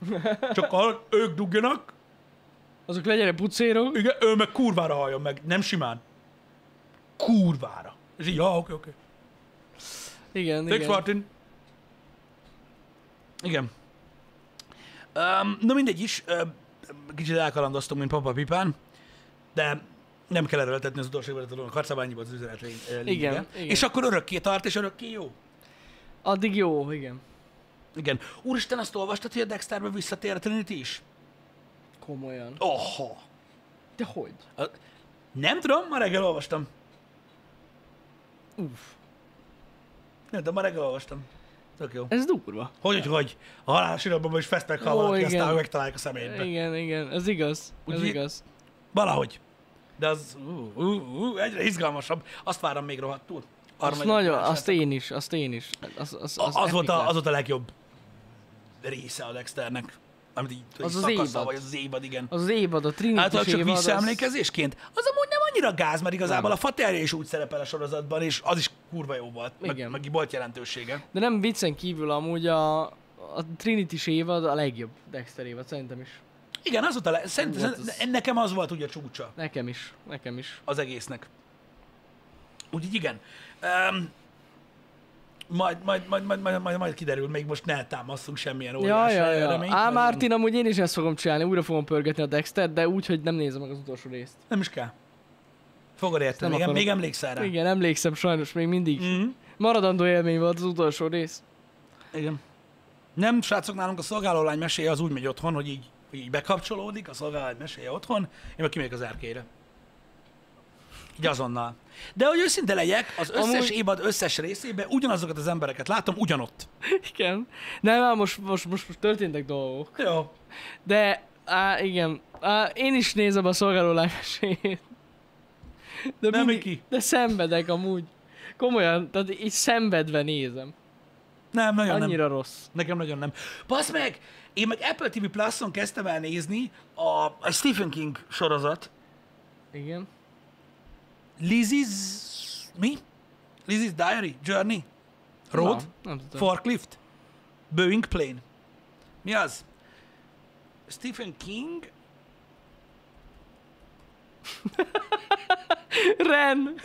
[SPEAKER 2] <laughs>
[SPEAKER 1] ja, csak ha ők dugjanak,
[SPEAKER 2] Azok legyenek pucérok?
[SPEAKER 1] igen, ő meg kurvára halljon meg, nem simán. Kurvára. És így, ja, oké, oké.
[SPEAKER 2] Igen,
[SPEAKER 1] Thanks,
[SPEAKER 2] igen.
[SPEAKER 1] Martin. Igen. Um, na mindegy is, um, kicsit elkalandoztunk, mint Papa Pipán, de nem kell erőltetni az utolsó évben a harcabányiba az üzenet lény- eh, lényege.
[SPEAKER 2] Igen, igen.
[SPEAKER 1] És akkor örökké tart, és örökké jó.
[SPEAKER 2] Addig jó, igen.
[SPEAKER 1] Igen. Úristen, azt olvastad, hogy a Dexterbe visszatér a Trinity is?
[SPEAKER 2] Komolyan.
[SPEAKER 1] Oha.
[SPEAKER 2] De hogy?
[SPEAKER 1] A- Nem tudom, ma reggel olvastam.
[SPEAKER 2] Uff.
[SPEAKER 1] Nem tudom, ma reggel olvastam. Tök jó.
[SPEAKER 2] Ez durva.
[SPEAKER 1] Hogy, hogy, hogy. A halálos iratban is fesznek, ha
[SPEAKER 2] Ó,
[SPEAKER 1] valaki,
[SPEAKER 2] igen.
[SPEAKER 1] aztán megtalálják a szemétbe.
[SPEAKER 2] Igen, igen, ez igaz. Ez
[SPEAKER 1] Ugye-
[SPEAKER 2] igaz.
[SPEAKER 1] Valahogy. De az ú, ú, ú, egyre izgalmasabb. Azt várom még rohadtul. Arra
[SPEAKER 2] Azt
[SPEAKER 1] vagyok
[SPEAKER 2] nagyon,
[SPEAKER 1] kíváncsi.
[SPEAKER 2] azt én is, azt én is. Az, az, az,
[SPEAKER 1] A- az, volt
[SPEAKER 2] epic
[SPEAKER 1] a,
[SPEAKER 2] lett.
[SPEAKER 1] az volt a legjobb része a Dexternek. Amit így, hogy
[SPEAKER 2] Az az
[SPEAKER 1] szakasza,
[SPEAKER 2] évad.
[SPEAKER 1] vagy az az évad, igen.
[SPEAKER 2] Az az évad, a Trinity
[SPEAKER 1] Általában csak
[SPEAKER 2] évad,
[SPEAKER 1] visszaemlékezésként. Az amúgy nem annyira gáz, mert igazából a faterje is úgy szerepel a sorozatban, és az is kurva jó volt. Meg,
[SPEAKER 2] Igen.
[SPEAKER 1] meg volt jelentősége.
[SPEAKER 2] Az, de nem viccen kívül amúgy a, a Trinity évad a legjobb Dexter évad, szerintem is.
[SPEAKER 1] Igen, az volt a le- szerint,
[SPEAKER 2] Volt Hát az-
[SPEAKER 1] ne- nekem az volt ugye a csúcsa.
[SPEAKER 2] Nekem is, nekem is.
[SPEAKER 1] az egésznek. Úgyhogy igen. Um, majd, majd, majd, majd, majd, majd, majd kiderül, még most ne támasztunk semmilyen
[SPEAKER 2] Ja,
[SPEAKER 1] óriás
[SPEAKER 2] ja, ja.
[SPEAKER 1] reményt,
[SPEAKER 2] Á,
[SPEAKER 1] vagy
[SPEAKER 2] Martin, amúgy én is ezt fogom csinálni, újra fogom pörgetni a Dexter, de úgy, hogy nem nézem meg az utolsó részt.
[SPEAKER 1] Nem, nem is kell. Fogod
[SPEAKER 2] nem
[SPEAKER 1] érteni, igen,
[SPEAKER 2] akarom.
[SPEAKER 1] még emlékszel rá. Igen.
[SPEAKER 2] Igen, emlékszem sajnos még mindig.
[SPEAKER 1] Mm-hmm.
[SPEAKER 2] Maradandó élmény volt az utolsó rész. <laughs>
[SPEAKER 1] igen. Nem, srácok, nálunk a szolgálólány meséje az úgy megy otthon, hogy így, hogy így bekapcsolódik, a szolgálólány meséje otthon, én meg kimegyek az erkére. Így azonnal. De hogy őszinte legyek, az összes
[SPEAKER 2] Amúgy-
[SPEAKER 1] Amúgy... évad összes részében ugyanazokat az embereket látom ugyanott.
[SPEAKER 2] Igen. Nem, á, most, most, most, most történtek dolgok.
[SPEAKER 1] Jó.
[SPEAKER 2] De, á, igen, á, én is nézem a szolgáló lánymeséjét.
[SPEAKER 1] Nem,
[SPEAKER 2] De, mindig-
[SPEAKER 1] Miki.
[SPEAKER 2] de szenvedek amúgy. Komolyan, tehát így szenvedve nézem.
[SPEAKER 1] Nem, nagyon nem.
[SPEAKER 2] Annyira rossz.
[SPEAKER 1] Nekem nagyon nem. Basz meg! Én meg Apple TV Plus-on kezdtem el nézni a, a Stephen King sorozat.
[SPEAKER 2] Igen.
[SPEAKER 1] Lizzie's... Mi? Lizzie's Diary? Journey? Road?
[SPEAKER 2] Na, nem tudom.
[SPEAKER 1] Forklift? Boeing Plane? Mi az? Stephen King?
[SPEAKER 2] Ren!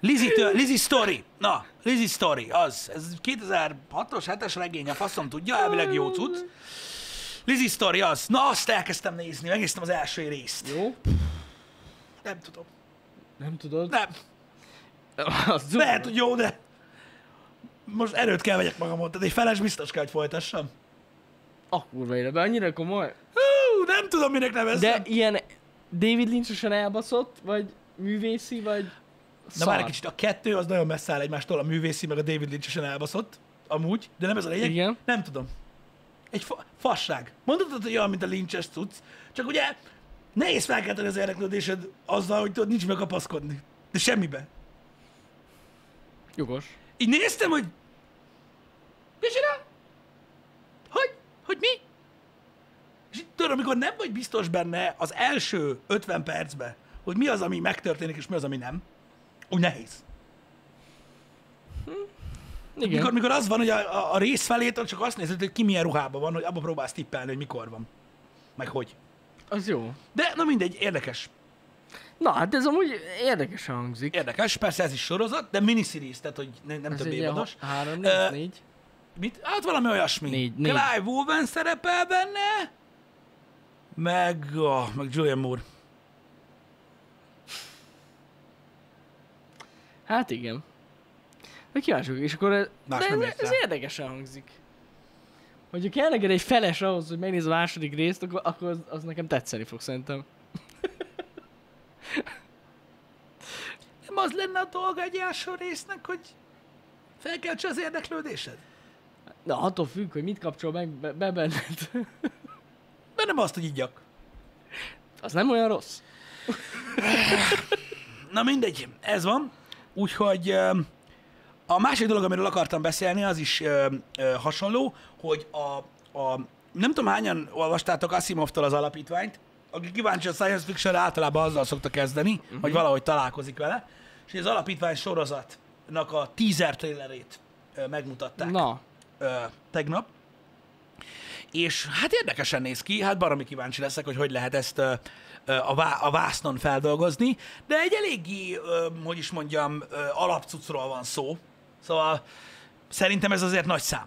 [SPEAKER 1] Lizzie, tő, Lizzie Story. Na, Lizzie Story, az. Ez 2006-os, 7-es regény, a faszom tudja, elvileg jó cucc. Lizzie Story, az. Na, azt elkezdtem nézni, megnéztem az első részt.
[SPEAKER 2] Jó?
[SPEAKER 1] Nem tudom.
[SPEAKER 2] Nem tudod?
[SPEAKER 1] Nem.
[SPEAKER 2] <laughs> Az durva.
[SPEAKER 1] Lehet, hogy jó, de most erőt kell vegyek magamon, tehát egy feles biztos kell, hogy folytassam.
[SPEAKER 2] A kurva életben, annyira komoly.
[SPEAKER 1] Hú, nem tudom, minek nevezzem.
[SPEAKER 2] De
[SPEAKER 1] De,
[SPEAKER 2] ilyen David Lynch-osan elbaszott, vagy művészi, vagy
[SPEAKER 1] Na
[SPEAKER 2] szar.
[SPEAKER 1] már egy kicsit, a kettő az nagyon messze áll egymástól, a művészi meg a David Lynch-esen elbaszott, amúgy, de nem ez a lényeg.
[SPEAKER 2] Igen.
[SPEAKER 1] Nem tudom. egy fa- fasság. Mondhatod, hogy olyan, mint a lincses tudsz, csak ugye nehéz felkelteni az érdeklődésed azzal, hogy tudod, nincs meg kapaszkodni. De semmibe.
[SPEAKER 2] Jogos.
[SPEAKER 1] Így néztem, hogy mi csinál? Hogy? Hogy mi? És így tudod, amikor nem vagy biztos benne az első 50 percbe, hogy mi az, ami megtörténik, és mi az, ami nem, úgy nehéz.
[SPEAKER 2] Igen.
[SPEAKER 1] Mikor, mikor az van, hogy a, a- a rész felétől csak azt nézed, hogy ki milyen ruhában van, hogy abba próbálsz tippelni, hogy mikor van. Meg hogy.
[SPEAKER 2] Az jó.
[SPEAKER 1] De na mindegy, érdekes.
[SPEAKER 2] Na, hát ez amúgy érdekesen hangzik.
[SPEAKER 1] Érdekes, persze ez is sorozat, de miniseries, tehát hogy ne, nem
[SPEAKER 2] Ez
[SPEAKER 1] több
[SPEAKER 2] egy ilyen
[SPEAKER 1] évados.
[SPEAKER 2] ha- Három,
[SPEAKER 1] Ö,
[SPEAKER 2] négy, négy.
[SPEAKER 1] Mit? Hát valami olyasmi.
[SPEAKER 2] Négy- négy.
[SPEAKER 1] Clive Owen szerepel benne, meg, oh, meg Julian Moore.
[SPEAKER 2] Hát igen. De kíváncsi vagyok, és akkor ez,
[SPEAKER 1] Más
[SPEAKER 2] de
[SPEAKER 1] nem
[SPEAKER 2] ez,
[SPEAKER 1] ért
[SPEAKER 2] ez
[SPEAKER 1] rá.
[SPEAKER 2] érdekesen hangzik. Hogyha kellene egy feles ahhoz, hogy megnézz a második részt, akkor, akkor az, az nekem tetszeni fog szerintem.
[SPEAKER 1] Nem az lenne a dolga egy első résznek, hogy felkeltse az érdeklődésed?
[SPEAKER 2] Na, attól függ, hogy mit kapcsol meg be, be benned.
[SPEAKER 1] Mert nem azt, hogy igyak.
[SPEAKER 2] <laughs> Az nem olyan rossz.
[SPEAKER 1] Na mindegy, ez van. Úgyhogy öm, a másik dolog, amiről akartam beszélni, az is öm, ö, hasonló, hogy a, a nem tudom hányan olvastátok Asimovtól az alapítványt, aki kíváncsi a science fiction általában azzal szokta kezdeni, uh-huh. hogy valahogy találkozik vele, és az alapítvány sorozatnak a teaser trailerét ö, megmutatták
[SPEAKER 2] Na,
[SPEAKER 1] ö, tegnap. És hát érdekesen néz ki, hát baromi kíváncsi leszek, hogy hogy lehet ezt ö, ö, a, vá- a vásznon feldolgozni, de egy eléggé, ö, hogy is mondjam, ö, alapcucról van szó. Szóval szerintem ez azért nagy szám,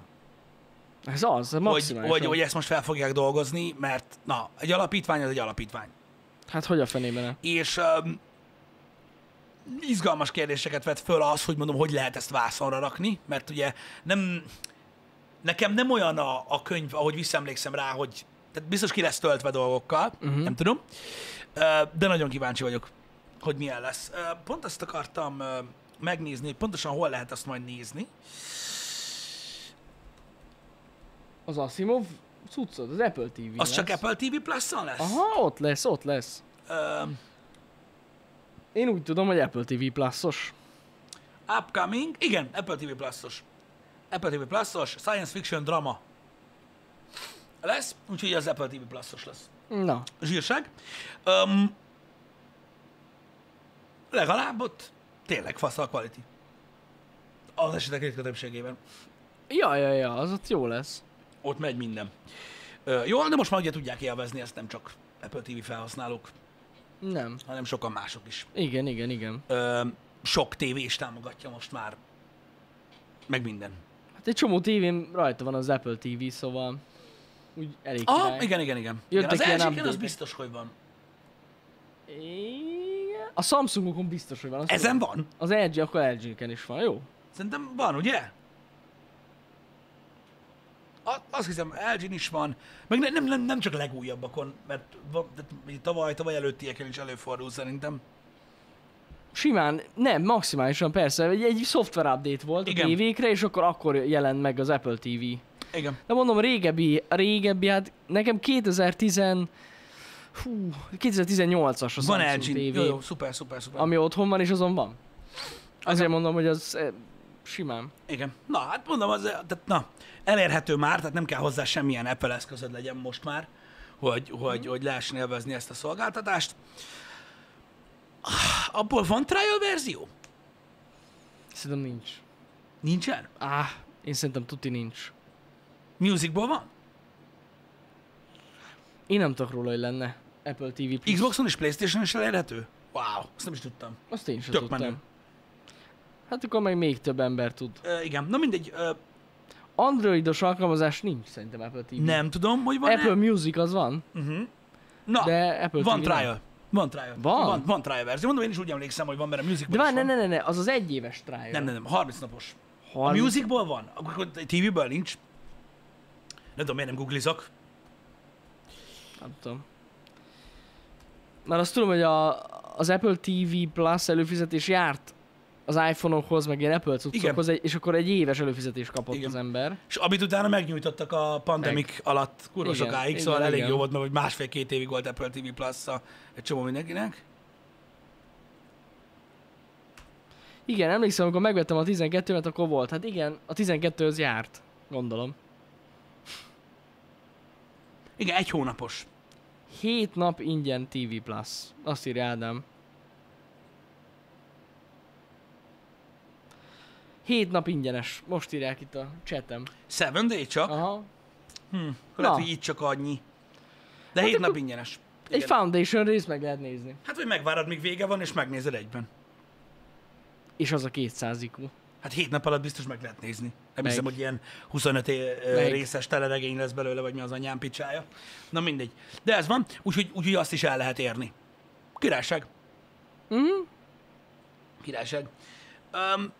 [SPEAKER 2] ez az, a
[SPEAKER 1] hogy,
[SPEAKER 2] maximális.
[SPEAKER 1] hogy, hogy ezt most fel fogják dolgozni, mert na, egy alapítvány az egy alapítvány.
[SPEAKER 2] Hát hogy a fenében ne?
[SPEAKER 1] És um, izgalmas kérdéseket vet föl az, hogy mondom, hogy lehet ezt vászonra rakni, mert ugye nem, nekem nem olyan a, a könyv, ahogy visszaemlékszem rá, hogy tehát biztos ki lesz töltve dolgokkal,
[SPEAKER 2] Mhm.
[SPEAKER 1] uh-huh. nem tudom, Ö, de nagyon kíváncsi vagyok, hogy milyen lesz. Ö, Pont azt akartam ö, megnézni, hogy pontosan hol lehet azt majd nézni.
[SPEAKER 2] Az Asimov cuccod, az Apple TV
[SPEAKER 1] Az
[SPEAKER 2] lesz.
[SPEAKER 1] csak Apple TV Plus-on lesz?
[SPEAKER 2] Aha, ott lesz, ott lesz.
[SPEAKER 1] Ö,
[SPEAKER 2] Én úgy tudom, hogy Apple TV Plus-os.
[SPEAKER 1] Upcoming, igen, Apple TV Plus-os. Apple TV Plus-os, science fiction drama lesz, úgyhogy az Apple TV Plus-os lesz.
[SPEAKER 2] Na,
[SPEAKER 1] Zsírság. Um, legalább ott tényleg fasz a quality. Az esetek ritka többségében.
[SPEAKER 2] ja, ja, ja, az ott jó lesz.
[SPEAKER 1] Ott megy minden. Ö, jól, de most már ugye tudják élvezni ezt nem csak Apple TV felhasználók,
[SPEAKER 2] Nem.
[SPEAKER 1] hanem sokan mások is.
[SPEAKER 2] Igen, igen, igen.
[SPEAKER 1] Ö, sok tévé is támogatja most már. Meg minden.
[SPEAKER 2] Hát egy csomó tévén rajta van az Apple TV, szóval úgy elég
[SPEAKER 1] Ah,
[SPEAKER 2] király.
[SPEAKER 1] igen, igen, igen. igen
[SPEAKER 2] Jöttek
[SPEAKER 1] az
[SPEAKER 2] ilyen
[SPEAKER 1] első az
[SPEAKER 2] update-ek.
[SPEAKER 1] biztos, hogy van.
[SPEAKER 2] igen. A Samsungokon biztos, hogy van. azt
[SPEAKER 1] Ezen
[SPEAKER 2] tudom.
[SPEAKER 1] van?
[SPEAKER 2] Az LG, akkor LG-ken is van, jó?
[SPEAKER 1] Szerintem van, ugye? A- Azt hiszem, LG-n is van, meg ne, nem, nem, nem csak legújabbakon, mert va- tehát így tavaly, tavaly előttieken is előfordul szerintem.
[SPEAKER 2] Simán, nem, maximálisan persze, egy, egy szoftver update volt
[SPEAKER 1] Igen.
[SPEAKER 2] a tévékre, és akkor akkor jelent meg az Apple TV.
[SPEAKER 1] Igen.
[SPEAKER 2] De mondom, régebbi, régebbi, hát nekem 2010, hú, 2018-as a
[SPEAKER 1] Van
[SPEAKER 2] Samsung
[SPEAKER 1] LG,
[SPEAKER 2] TV,
[SPEAKER 1] jó, jó, szuper, szuper, szuper. Ami...
[SPEAKER 2] ami otthon van, és azon van. Azért mondom, hogy az eh, simán.
[SPEAKER 1] Igen. Na, hát mondom, az, tehát, na, elérhető már, tehát nem kell hozzá semmilyen Apple eszközöd legyen most már, hogy, hogy,
[SPEAKER 2] Mhm.
[SPEAKER 1] hogy lehessen élvezni ezt a szolgáltatást. Ah, Abból van trial verzió?
[SPEAKER 2] Szerintem nincs.
[SPEAKER 1] Nincsen?
[SPEAKER 2] Áh, én szerintem tuti nincs.
[SPEAKER 1] Musicból van?
[SPEAKER 2] Én nem tudok róla, hogy lenne Apple TV Plus.
[SPEAKER 1] Xboxon és Playstation is elérhető? Wow, azt nem is tudtam.
[SPEAKER 2] Azt én sem
[SPEAKER 1] Tök
[SPEAKER 2] tudtam.
[SPEAKER 1] menő.
[SPEAKER 2] Hát akkor meg még több ember tud.
[SPEAKER 1] Ö, igen, na mindegy, ö,
[SPEAKER 2] Androidos alkalmazás nincs szerintem Apple TV.
[SPEAKER 1] nem tudom, hogy van
[SPEAKER 2] Apple Music az van,
[SPEAKER 1] Na,
[SPEAKER 2] de Apple
[SPEAKER 1] van
[SPEAKER 2] TV Nem.
[SPEAKER 1] trial. Van trial.
[SPEAKER 2] Van?
[SPEAKER 1] Van, van trial verzió. Mondom, én is úgy emlékszem, hogy van, mert a
[SPEAKER 2] De
[SPEAKER 1] musicból
[SPEAKER 2] várj,
[SPEAKER 1] is
[SPEAKER 2] ne,
[SPEAKER 1] van.
[SPEAKER 2] ne, ne, ne, az az egy éves trial.
[SPEAKER 1] nem, nem, nem, 30 napos. A
[SPEAKER 2] 30...
[SPEAKER 1] musicból van, akkor a TV-ből nincs. Nem tudom, miért nem googlizok.
[SPEAKER 2] Nem tudom. Mert azt tudom, hogy a, az Apple TV Plus előfizetés járt az iPhone-okhoz, meg ilyen Apple cuccokhoz, egy, és akkor egy éves előfizetést kapott
[SPEAKER 1] Igen.
[SPEAKER 2] az ember.
[SPEAKER 1] És amit utána megnyújtottak a pandemik meg. alatt kurva
[SPEAKER 2] Igen,
[SPEAKER 1] sokáig,
[SPEAKER 2] igen,
[SPEAKER 1] szóval elég
[SPEAKER 2] igen.
[SPEAKER 1] jó volt, mert hogy másfél-két évig volt Apple TV plus egy csomó mindenkinek.
[SPEAKER 2] Igen, emlékszem, amikor megvettem a 12-et, akkor volt. Hát igen, a 12 az járt, gondolom.
[SPEAKER 1] Igen, egy hónapos.
[SPEAKER 2] 7 nap ingyen TV Plus. Azt írja Ádám. 7 nap ingyenes. Most írják itt a chatem.
[SPEAKER 1] Seven day csak.
[SPEAKER 2] Aha.
[SPEAKER 1] Hm. Lehet,
[SPEAKER 2] Na. Hát
[SPEAKER 1] hogy így csak annyi. De hét
[SPEAKER 2] akkor-
[SPEAKER 1] nap ingyenes.
[SPEAKER 2] Egy
[SPEAKER 1] Igen.
[SPEAKER 2] Foundation részt meg lehet nézni.
[SPEAKER 1] Hát, hogy megvárod, míg vége van, és megnézed egyben.
[SPEAKER 2] És az a 200 IQ.
[SPEAKER 1] Hát hét nap alatt biztos meg lehet nézni. Nem
[SPEAKER 2] Meg.
[SPEAKER 1] hiszem, hogy ilyen 25 é- ö,
[SPEAKER 2] Meg.
[SPEAKER 1] részes teleregény lesz belőle, vagy mi az anyám picsája. Na mindegy. De ez van, úgyhogy úgy, azt is el lehet érni. Királyság.
[SPEAKER 2] Mhm.
[SPEAKER 1] Királyság. Um,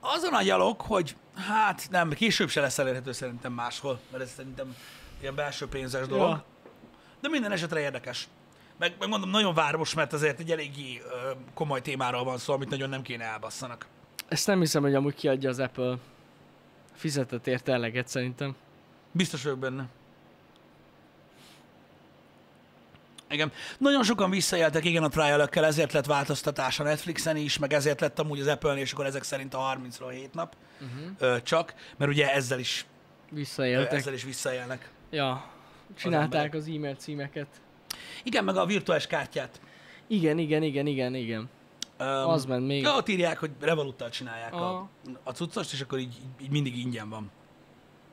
[SPEAKER 1] azon a gyalog, hogy hát nem, később se lesz elérhető szerintem máshol, mert ez szerintem ilyen belső pénzes dolog.
[SPEAKER 2] Ja.
[SPEAKER 1] De minden esetre érdekes. Meg, meg mondom, nagyon város, mert azért egy eléggé ö, komoly témáról van szó, amit nagyon nem kéne elbasszanak.
[SPEAKER 2] Ezt nem hiszem, hogy amúgy kiadja az Apple. Fizetett érte eleget szerintem.
[SPEAKER 1] Biztos vagyok benne. Igen. Nagyon sokan visszajeltek, igen, a trial ezért lett változtatás a Netflixen is, meg ezért lett amúgy az Apple-nél, és akkor ezek szerint a 30-ról 7 nap
[SPEAKER 2] Mhm.
[SPEAKER 1] uh-huh. ö, csak, mert ugye ezzel is, ö,
[SPEAKER 2] Visszaéltek.
[SPEAKER 1] ezzel is visszajelnek.
[SPEAKER 2] Ja. Csinálták
[SPEAKER 1] emberek.
[SPEAKER 2] az e-mail címeket.
[SPEAKER 1] Igen, meg a virtuális kártyát.
[SPEAKER 2] Igen, igen, igen, igen, igen.
[SPEAKER 1] Öm,
[SPEAKER 2] Az ment még.
[SPEAKER 1] Ja, ott írják, hogy revoluttal csinálják a,
[SPEAKER 2] Aha.
[SPEAKER 1] a cuccost, és akkor így, így mindig ingyen van.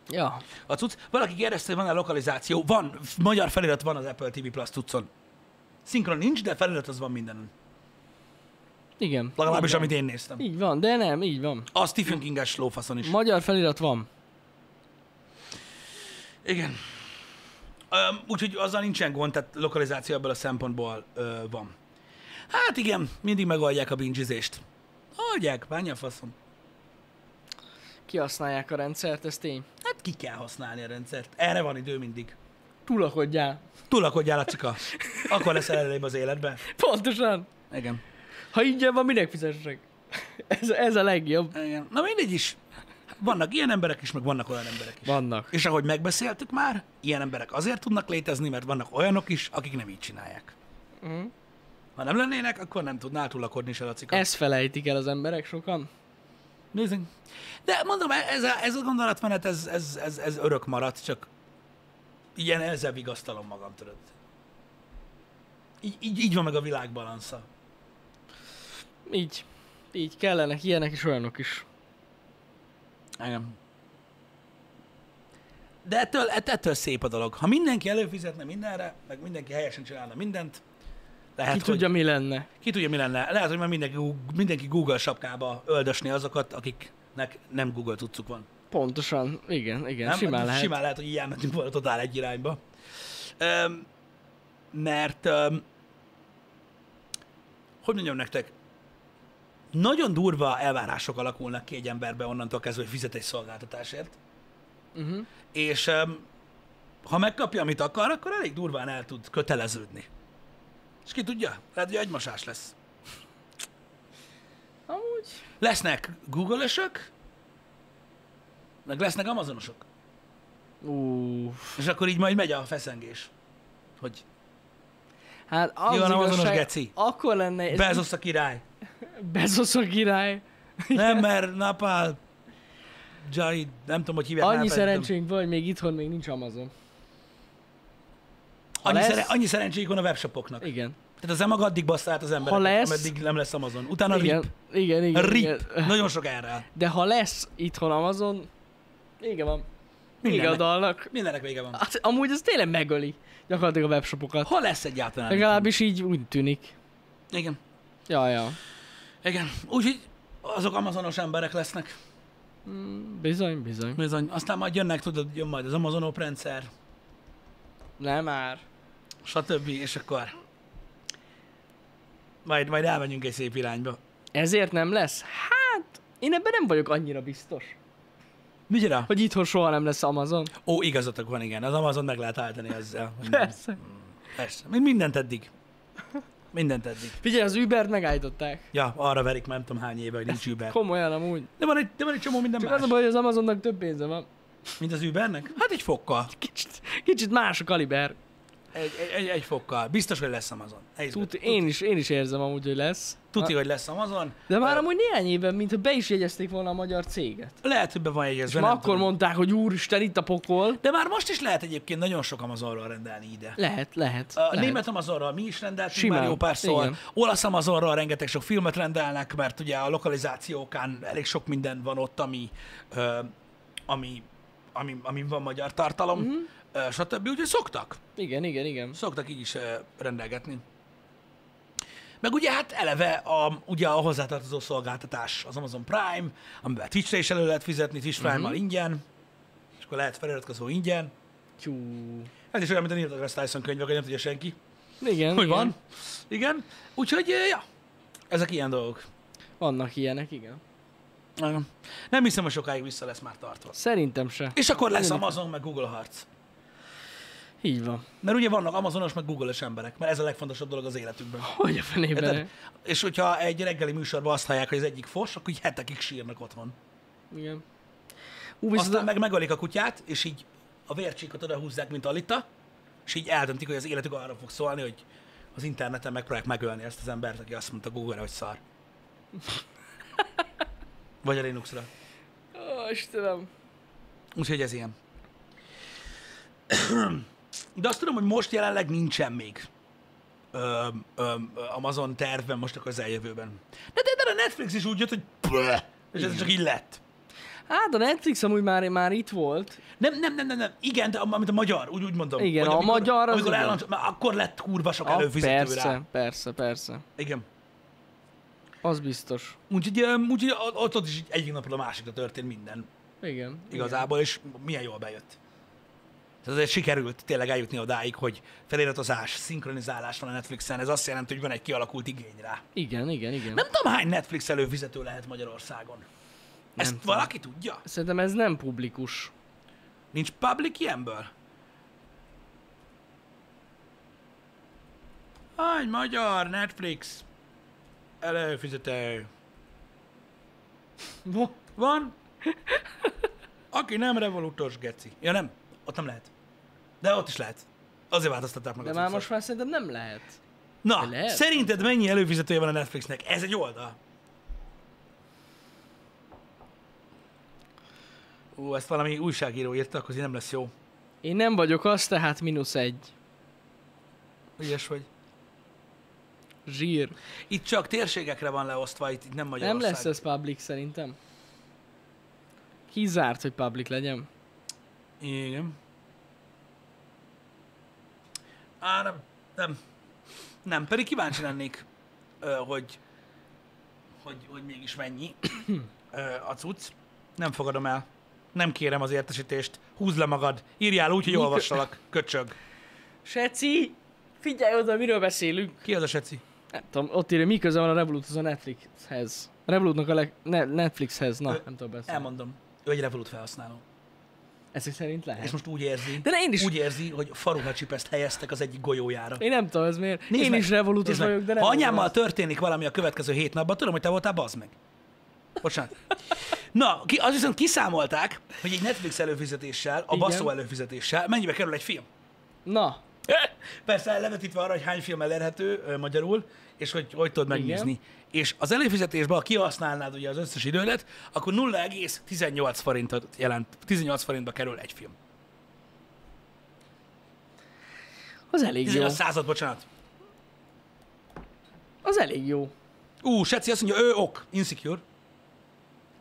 [SPEAKER 2] Ja.
[SPEAKER 1] A cucc. Valaki kérdezte, hogy van-e lokalizáció. Van, f- magyar felirat van az Apple TV Plus cuccon. Szinkron nincs, de felirat az van mindenen.
[SPEAKER 2] Igen.
[SPEAKER 1] Legalábbis
[SPEAKER 2] Így van.
[SPEAKER 1] amit én néztem.
[SPEAKER 2] Így van, de nem, így van.
[SPEAKER 1] A Stephen King-es lófaszon is.
[SPEAKER 2] Magyar felirat van.
[SPEAKER 1] Igen. Öm, úgyhogy azzal nincsen gond, tehát lokalizáció ebből a szempontból ö, van. Hát igen, mindig megoldják a bingizést. Oldják, bánja a faszom.
[SPEAKER 2] Kihasználják a rendszert, ez tény.
[SPEAKER 1] Hát ki kell használni a rendszert. Erre van idő mindig.
[SPEAKER 2] Tulakodjál.
[SPEAKER 1] Tulakodjál a cika. Akkor leszel előrébb az életben.
[SPEAKER 2] Pontosan.
[SPEAKER 1] Igen.
[SPEAKER 2] Ha ingyen van, minek fizessek? <laughs> Ez, ez a legjobb.
[SPEAKER 1] Igen. Na mindegy is. Vannak ilyen emberek is, meg vannak olyan emberek is.
[SPEAKER 2] Vannak.
[SPEAKER 1] És ahogy megbeszéltük már, ilyen emberek azért tudnak létezni, mert vannak olyanok is, akik nem így csinálják.
[SPEAKER 2] Mhm.
[SPEAKER 1] Ha nem lennének, akkor nem tudnál tulakodni se, Lacika.
[SPEAKER 2] Ezt felejtik el az emberek sokan.
[SPEAKER 1] Nézzünk. De mondom, ez a, ez a gondolatmenet, ez, ez, ez, ez örök maradt, csak ilyen ezzel vigasztalom magam, tudod. Így, így, így van meg a világ balansza.
[SPEAKER 2] Így. Így kellenek ilyenek és olyanok is.
[SPEAKER 1] Igen. De ettől, ett- ettől szép a dolog. Ha mindenki előfizetne mindenre, meg mindenki helyesen csinálna mindent, lehet,
[SPEAKER 2] Ki
[SPEAKER 1] Hát, hogy,
[SPEAKER 2] tudja, mi lenne.
[SPEAKER 1] ki tudja, mi lenne. Lehet, hogy már mindenki, Gu- mindenki Google sapkába öldösni azokat, akiknek nem Google tudcuk van.
[SPEAKER 2] Pontosan. Igen, igen.
[SPEAKER 1] Nem?
[SPEAKER 2] simán
[SPEAKER 1] Hát
[SPEAKER 2] lehet.
[SPEAKER 1] Simán lehet, hogy így elmentünk volna totál egy irányba. Öm, mert, öm, hogy mondjam nektek, nagyon durva elvárások alakulnak ki egy emberbe onnantól kezdve, hogy fizet egy szolgáltatásért,
[SPEAKER 2] Uh-huh.
[SPEAKER 1] és öm, ha megkapja, amit akar, akkor elég durván el tud köteleződni. És ki tudja, lehet, hogy agymosás lesz.
[SPEAKER 2] Amúgy.
[SPEAKER 1] Lesznek Google-ösök, meg lesznek Amazonosok.
[SPEAKER 2] Uff.
[SPEAKER 1] És akkor így majd megy a feszengés, hogy
[SPEAKER 2] Hát az
[SPEAKER 1] Nyilván
[SPEAKER 2] igazság,
[SPEAKER 1] Amazonos geci.
[SPEAKER 2] Akkor lenne... ez-
[SPEAKER 1] Bezos a
[SPEAKER 2] <laughs>
[SPEAKER 1] király.
[SPEAKER 2] Bezos a király.
[SPEAKER 1] Nem, mert Napal, Jai, nem tudom, hogy hívják.
[SPEAKER 2] Annyi
[SPEAKER 1] már, felejtettem.
[SPEAKER 2] szerencsénk van, hogy még itthon még nincs Amazon. Ha
[SPEAKER 1] Annyi,
[SPEAKER 2] lesz-
[SPEAKER 1] szere, annyi szerencséjük van a webshopoknak.
[SPEAKER 2] Igen.
[SPEAKER 1] Tehát az emag addig bassza át az emberek,
[SPEAKER 2] lesz-
[SPEAKER 1] ameddig nem lesz Amazon. Utána
[SPEAKER 2] igen,
[SPEAKER 1] rip.
[SPEAKER 2] igen, igen, igen. <laughs>
[SPEAKER 1] Rip. Nagyon sok erre.
[SPEAKER 2] De ha lesz itthon Amazon, vége van. Vége a
[SPEAKER 1] Mindennek.
[SPEAKER 2] dalnak.
[SPEAKER 1] Mindennek vége van.
[SPEAKER 2] Hát, amúgy ez tényleg megöli gyakorlatilag a webshopokat.
[SPEAKER 1] Hol lesz egyáltalán?
[SPEAKER 2] Legalábbis így úgy tűnik.
[SPEAKER 1] Igen.
[SPEAKER 2] Ja, ja.
[SPEAKER 1] Igen. Úgyhogy azok amazonos emberek lesznek.
[SPEAKER 2] Bizony, bizony.
[SPEAKER 1] Bizony. Aztán majd jönnek, tudod, jön majd az Amazon Op rendszer,
[SPEAKER 2] Nem már.
[SPEAKER 1] stb. És akkor majd, majd elmegyünk egy szép irányba.
[SPEAKER 2] Ezért nem lesz? Hát, én ebben nem vagyok annyira biztos.
[SPEAKER 1] Micsoda?
[SPEAKER 2] Hogy itthon soha nem lesz Amazon.
[SPEAKER 1] Ó, igazatok
[SPEAKER 2] <laughs>
[SPEAKER 1] van, igen. Az Amazon meg lehet állítani ezzel. hogy nem-
[SPEAKER 2] Persze.
[SPEAKER 1] Persze. Mint mindent eddig. Mindent eddig.
[SPEAKER 2] Figyelj, az Ubert megállították.
[SPEAKER 1] Ja, arra verik már nem tudom hány éve, hogy nincs Uber.
[SPEAKER 2] Komolyan amúgy.
[SPEAKER 1] De van egy, de van egy csomó minden
[SPEAKER 2] Csak
[SPEAKER 1] más.
[SPEAKER 2] az a baj, hogy az Amazonnak több pénze van.
[SPEAKER 1] Mint az Ubernek? Hát egy fokkal.
[SPEAKER 2] Kicsit, kicsit más a kaliber.
[SPEAKER 1] Egy, egy, egy, egy fokkal. Biztos, hogy lesz Amazon. Egy,
[SPEAKER 2] Tud, én, is, én is érzem amúgy, hogy lesz.
[SPEAKER 1] Tuti,
[SPEAKER 2] Na,
[SPEAKER 1] hogy lesz Amazon.
[SPEAKER 2] De már
[SPEAKER 1] Ö,
[SPEAKER 2] amúgy néhány éven, mintha be is jegyezték volna a magyar céget.
[SPEAKER 1] Lehet, hogy be van
[SPEAKER 2] És
[SPEAKER 1] jegyezve.
[SPEAKER 2] ma
[SPEAKER 1] nem
[SPEAKER 2] akkor
[SPEAKER 1] tudom.
[SPEAKER 2] mondták, hogy úristen, itt a pokol.
[SPEAKER 1] De már most is lehet egyébként nagyon sok Amazonról rendelni ide.
[SPEAKER 2] Lehet, lehet.
[SPEAKER 1] A
[SPEAKER 2] lehet.
[SPEAKER 1] német Amazonról mi is rendeltünk
[SPEAKER 2] Simán.
[SPEAKER 1] már jó párszor.
[SPEAKER 2] Igen.
[SPEAKER 1] Olasz Amazonról rengeteg sok filmet rendelnek, mert ugye a lokalizációkán elég sok minden van ott, ami, ö, ami, ami, ami van magyar tartalom,
[SPEAKER 2] Mhm.
[SPEAKER 1] mm-hmm. ö, stb. Úgyhogy szoktak.
[SPEAKER 2] Igen, igen, igen.
[SPEAKER 1] Szoktak így is ö, rendelgetni. Meg ugye hát eleve a, ugye a hozzátartozó szolgáltatás az Amazon Prime, amivel Twitch-re is elő lehet fizetni, Twitch
[SPEAKER 2] Mhm.
[SPEAKER 1] Prime-mal ingyen, és akkor lehet feliratkozó ingyen.
[SPEAKER 2] Tyú.
[SPEAKER 1] Ez is olyan, mint a Neil deGrasse Tyson könyv, hogy nem tudja senki.
[SPEAKER 2] Igen,
[SPEAKER 1] Hogy
[SPEAKER 2] igen.
[SPEAKER 1] van? Igen. Úgyhogy, eh, ja, ezek ilyen dolgok.
[SPEAKER 2] Vannak ilyenek, igen.
[SPEAKER 1] Igen. Nem hiszem, hogy sokáig vissza lesz már tartva.
[SPEAKER 2] Szerintem se.
[SPEAKER 1] És akkor lesz Amazon, meg Google harc.
[SPEAKER 2] Így van.
[SPEAKER 1] Mert ugye vannak Amazonos, meg Google-es emberek, mert ez a legfontosabb dolog az életükben.
[SPEAKER 2] Hogy a fenében?
[SPEAKER 1] Érted? És hogyha egy reggeli műsorban azt hallják, hogy az egyik fos, akkor így hetekig sírnak otthon.
[SPEAKER 2] Igen. Ú,
[SPEAKER 1] Viszont
[SPEAKER 2] viszont
[SPEAKER 1] Aztán
[SPEAKER 2] a...
[SPEAKER 1] meg megölik a kutyát, és így a vércsíkot oda húzzák, mint Alita, és így eldöntik, hogy az életük arra fog szólni, hogy az interneten megpróbálják megölni ezt az embert, aki azt mondta Google-re, hogy szar. Vagy a Linuxra.
[SPEAKER 2] Ó, Istenem.
[SPEAKER 1] Úgyhogy ez ilyen. De azt tudom, hogy most jelenleg nincsen még ö, ö, Amazon tervben, most a közeljövőben. De, de, de a Netflix is úgy jött, hogy bleh, és ez csak így lett.
[SPEAKER 2] Hát a Netflix amúgy már, már itt volt.
[SPEAKER 1] Nem, nem, nem, nem, nem. Igen, de amit a magyar, úgy, úgy mondom.
[SPEAKER 2] Igen,
[SPEAKER 1] hogy
[SPEAKER 2] a magyar az
[SPEAKER 1] amikor
[SPEAKER 2] igen.
[SPEAKER 1] elhangzott, mert akkor lett kurva sok
[SPEAKER 2] Ah,
[SPEAKER 1] előfizető
[SPEAKER 2] persze,
[SPEAKER 1] rá.
[SPEAKER 2] persze, persze.
[SPEAKER 1] Igen.
[SPEAKER 2] Az biztos.
[SPEAKER 1] Úgyhogy, öm, úgyhogy ott, ott is így egyik napról a másikra történt minden
[SPEAKER 2] Igen.
[SPEAKER 1] igazából, és milyen jól bejött. Tehát azért sikerült tényleg eljutni odáig, hogy feliratozás, szinkronizálás van a Netflixen, ez azt jelenti, hogy van egy kialakult igény rá.
[SPEAKER 2] Igen, igen, igen.
[SPEAKER 1] Nem tudom, hány Netflix előfizető lehet Magyarországon. Ezt
[SPEAKER 2] Nem tudom.
[SPEAKER 1] valaki tudja?
[SPEAKER 2] Szerintem ez nem publikus.
[SPEAKER 1] Nincs public ilyenből? Hány magyar Netflix előfizető?
[SPEAKER 2] Bo-
[SPEAKER 1] Van? Aki nem revolutos geci. Ja nem, ott nem lehet. De ott is lehet. Azért változtatták meg
[SPEAKER 2] De
[SPEAKER 1] a
[SPEAKER 2] már
[SPEAKER 1] cuccot.
[SPEAKER 2] most már szerintem nem lehet.
[SPEAKER 1] Na,
[SPEAKER 2] de lehet.
[SPEAKER 1] szerinted mennyi előfizetője van a Netflixnek? Ez egy oldal. Ú, ezt valami újságíró írta, akkor így nem lesz jó.
[SPEAKER 2] Én nem vagyok az, tehát mínusz egy.
[SPEAKER 1] Ügyes vagy.
[SPEAKER 2] Zsír.
[SPEAKER 1] Itt csak térségekre van leosztva, itt, itt nem
[SPEAKER 2] Nem
[SPEAKER 1] Magyarország.
[SPEAKER 2] lesz ez public szerintem. Kizárt, hogy public legyen.
[SPEAKER 1] Igen. Á, nem. Nem. Nem, pedig kíváncsi lennék, ö, hogy, hogy, hogy mégis mennyi ö, a cucc. Nem fogadom el. Nem kérem az értesítést. Húzd le magad. Írjál úgy, hogy
[SPEAKER 2] Mikor-
[SPEAKER 1] olvassalak. Köcsög.
[SPEAKER 2] Seci! Figyelj oda, miről beszélünk!
[SPEAKER 1] Ki az a seci?
[SPEAKER 2] Nem tudom, ott írja, mi köze van a Revoluthoz a Netflixhez. A Revolutnak a leg... ne- Netflixhez, na,
[SPEAKER 1] Ö,
[SPEAKER 2] nem tudom beszélni.
[SPEAKER 1] Elmondom. Ő egy Revolut felhasználó.
[SPEAKER 2] Ezek szerint lehet.
[SPEAKER 1] És most úgy érzi,
[SPEAKER 2] De ne, én is,
[SPEAKER 1] úgy érzi, hogy faruha csipeszt helyeztek az egyik golyójára.
[SPEAKER 2] én nem tudom, ez miért.
[SPEAKER 1] Nézd
[SPEAKER 2] én
[SPEAKER 1] meg,
[SPEAKER 2] is Revolutos
[SPEAKER 1] nézd meg.
[SPEAKER 2] vagyok, de nem.
[SPEAKER 1] Ha
[SPEAKER 2] tudom
[SPEAKER 1] anyámmal
[SPEAKER 2] ezt.
[SPEAKER 1] történik valami a következő hét napban, tudom, hogy te voltál, bazd meg. Bocsánat. Na, ki, az viszont kiszámolták, hogy egy Netflix előfizetéssel, a
[SPEAKER 2] Igen.
[SPEAKER 1] baszó előfizetéssel mennyibe kerül egy film. <laughs>
[SPEAKER 2] Na,
[SPEAKER 1] Persze levetítve arra, hogy hány film elérhető ö, magyarul, és hogy hogy tudod megnézni. És az előfizetésben, ha kihasználnád ugye az összes idődet, akkor 0,18 forintot jelent, 18 forintba kerül egy film.
[SPEAKER 2] az elég jó.
[SPEAKER 1] 18 század, bocsánat.
[SPEAKER 2] Az elég jó.
[SPEAKER 1] Ú, Seci azt mondja, ő ok, insecure.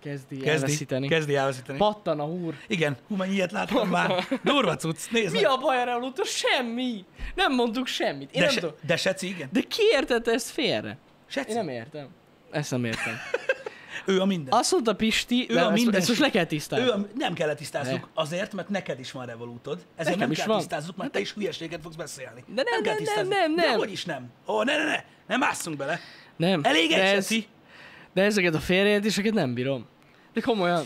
[SPEAKER 2] Kezdi, Kezdi.
[SPEAKER 1] Kezdi,
[SPEAKER 2] elveszíteni.
[SPEAKER 1] kezdi elveszíteni.
[SPEAKER 2] Pattan a húr.
[SPEAKER 1] Igen, hú, mennyi ilyet láttam már. Durva cucc, nézd
[SPEAKER 2] Mi
[SPEAKER 1] meg.
[SPEAKER 2] a baj a Revolutos? Semmi! Nem mondtuk semmit. Én
[SPEAKER 1] De,
[SPEAKER 2] nem
[SPEAKER 1] se,
[SPEAKER 2] tudom.
[SPEAKER 1] de Seci, igen.
[SPEAKER 2] De ki értette ezt félre?
[SPEAKER 1] Seci,
[SPEAKER 2] Én nem értem. Ezt nem értem.
[SPEAKER 1] ő a minden.
[SPEAKER 2] Azt mondta Pisti,
[SPEAKER 1] Ő
[SPEAKER 2] de
[SPEAKER 1] a
[SPEAKER 2] ezt,
[SPEAKER 1] minden-
[SPEAKER 2] ezt most le kell
[SPEAKER 1] Ő
[SPEAKER 2] tisztázni.
[SPEAKER 1] a, nem kellett tisztázzuk
[SPEAKER 2] Ne.
[SPEAKER 1] azért, mert neked is van revolútod. Ezért
[SPEAKER 2] Nekem
[SPEAKER 1] nem
[SPEAKER 2] is
[SPEAKER 1] kell
[SPEAKER 2] van. Hát
[SPEAKER 1] tisztázzuk, mert te is hülyeséget fogsz beszélni.
[SPEAKER 2] De nem,
[SPEAKER 1] kell
[SPEAKER 2] nem, nem,
[SPEAKER 1] tisztázzuk.
[SPEAKER 2] nem,
[SPEAKER 1] De
[SPEAKER 2] nem.
[SPEAKER 1] hogy is nem. Ó, ne, ne, ne, nem ásszunk bele.
[SPEAKER 2] Nem.
[SPEAKER 1] Elég
[SPEAKER 2] de,
[SPEAKER 1] egy,
[SPEAKER 2] ez,
[SPEAKER 1] Seci.
[SPEAKER 2] de ezeket a félreértéseket nem bírom. De komolyan.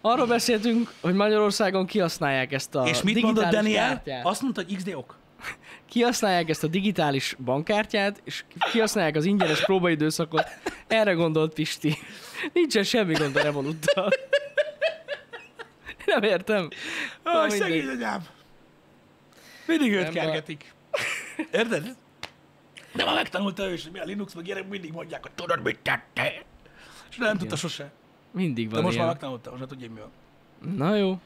[SPEAKER 2] Arról beszéltünk, hogy Magyarországon kihasználják ezt a
[SPEAKER 1] És mit
[SPEAKER 2] digitális
[SPEAKER 1] mondott Daniel?
[SPEAKER 2] kártyát.
[SPEAKER 1] Azt mondta, hogy XD ok.
[SPEAKER 2] kihasználják ezt a digitális bankkártyát, és kihasználják az ingyenes próbaidőszakot. Erre gondolt Pisti. Nincsen semmi gond a Revoluttal. Nem értem.
[SPEAKER 1] Aj,
[SPEAKER 2] mindegy.
[SPEAKER 1] szegény anyám. Mindig őt
[SPEAKER 2] Nem
[SPEAKER 1] kergetik. Érted? De már megtanulta ő is, hogy mi a Linux, meg ilyenek mindig mondják, hogy tudod, mit tette. És nem tudta sose.
[SPEAKER 2] Mindig van
[SPEAKER 1] De most
[SPEAKER 2] ilyen.
[SPEAKER 1] már megtanulta, most már tudja, hogy mi van.
[SPEAKER 2] Na jó.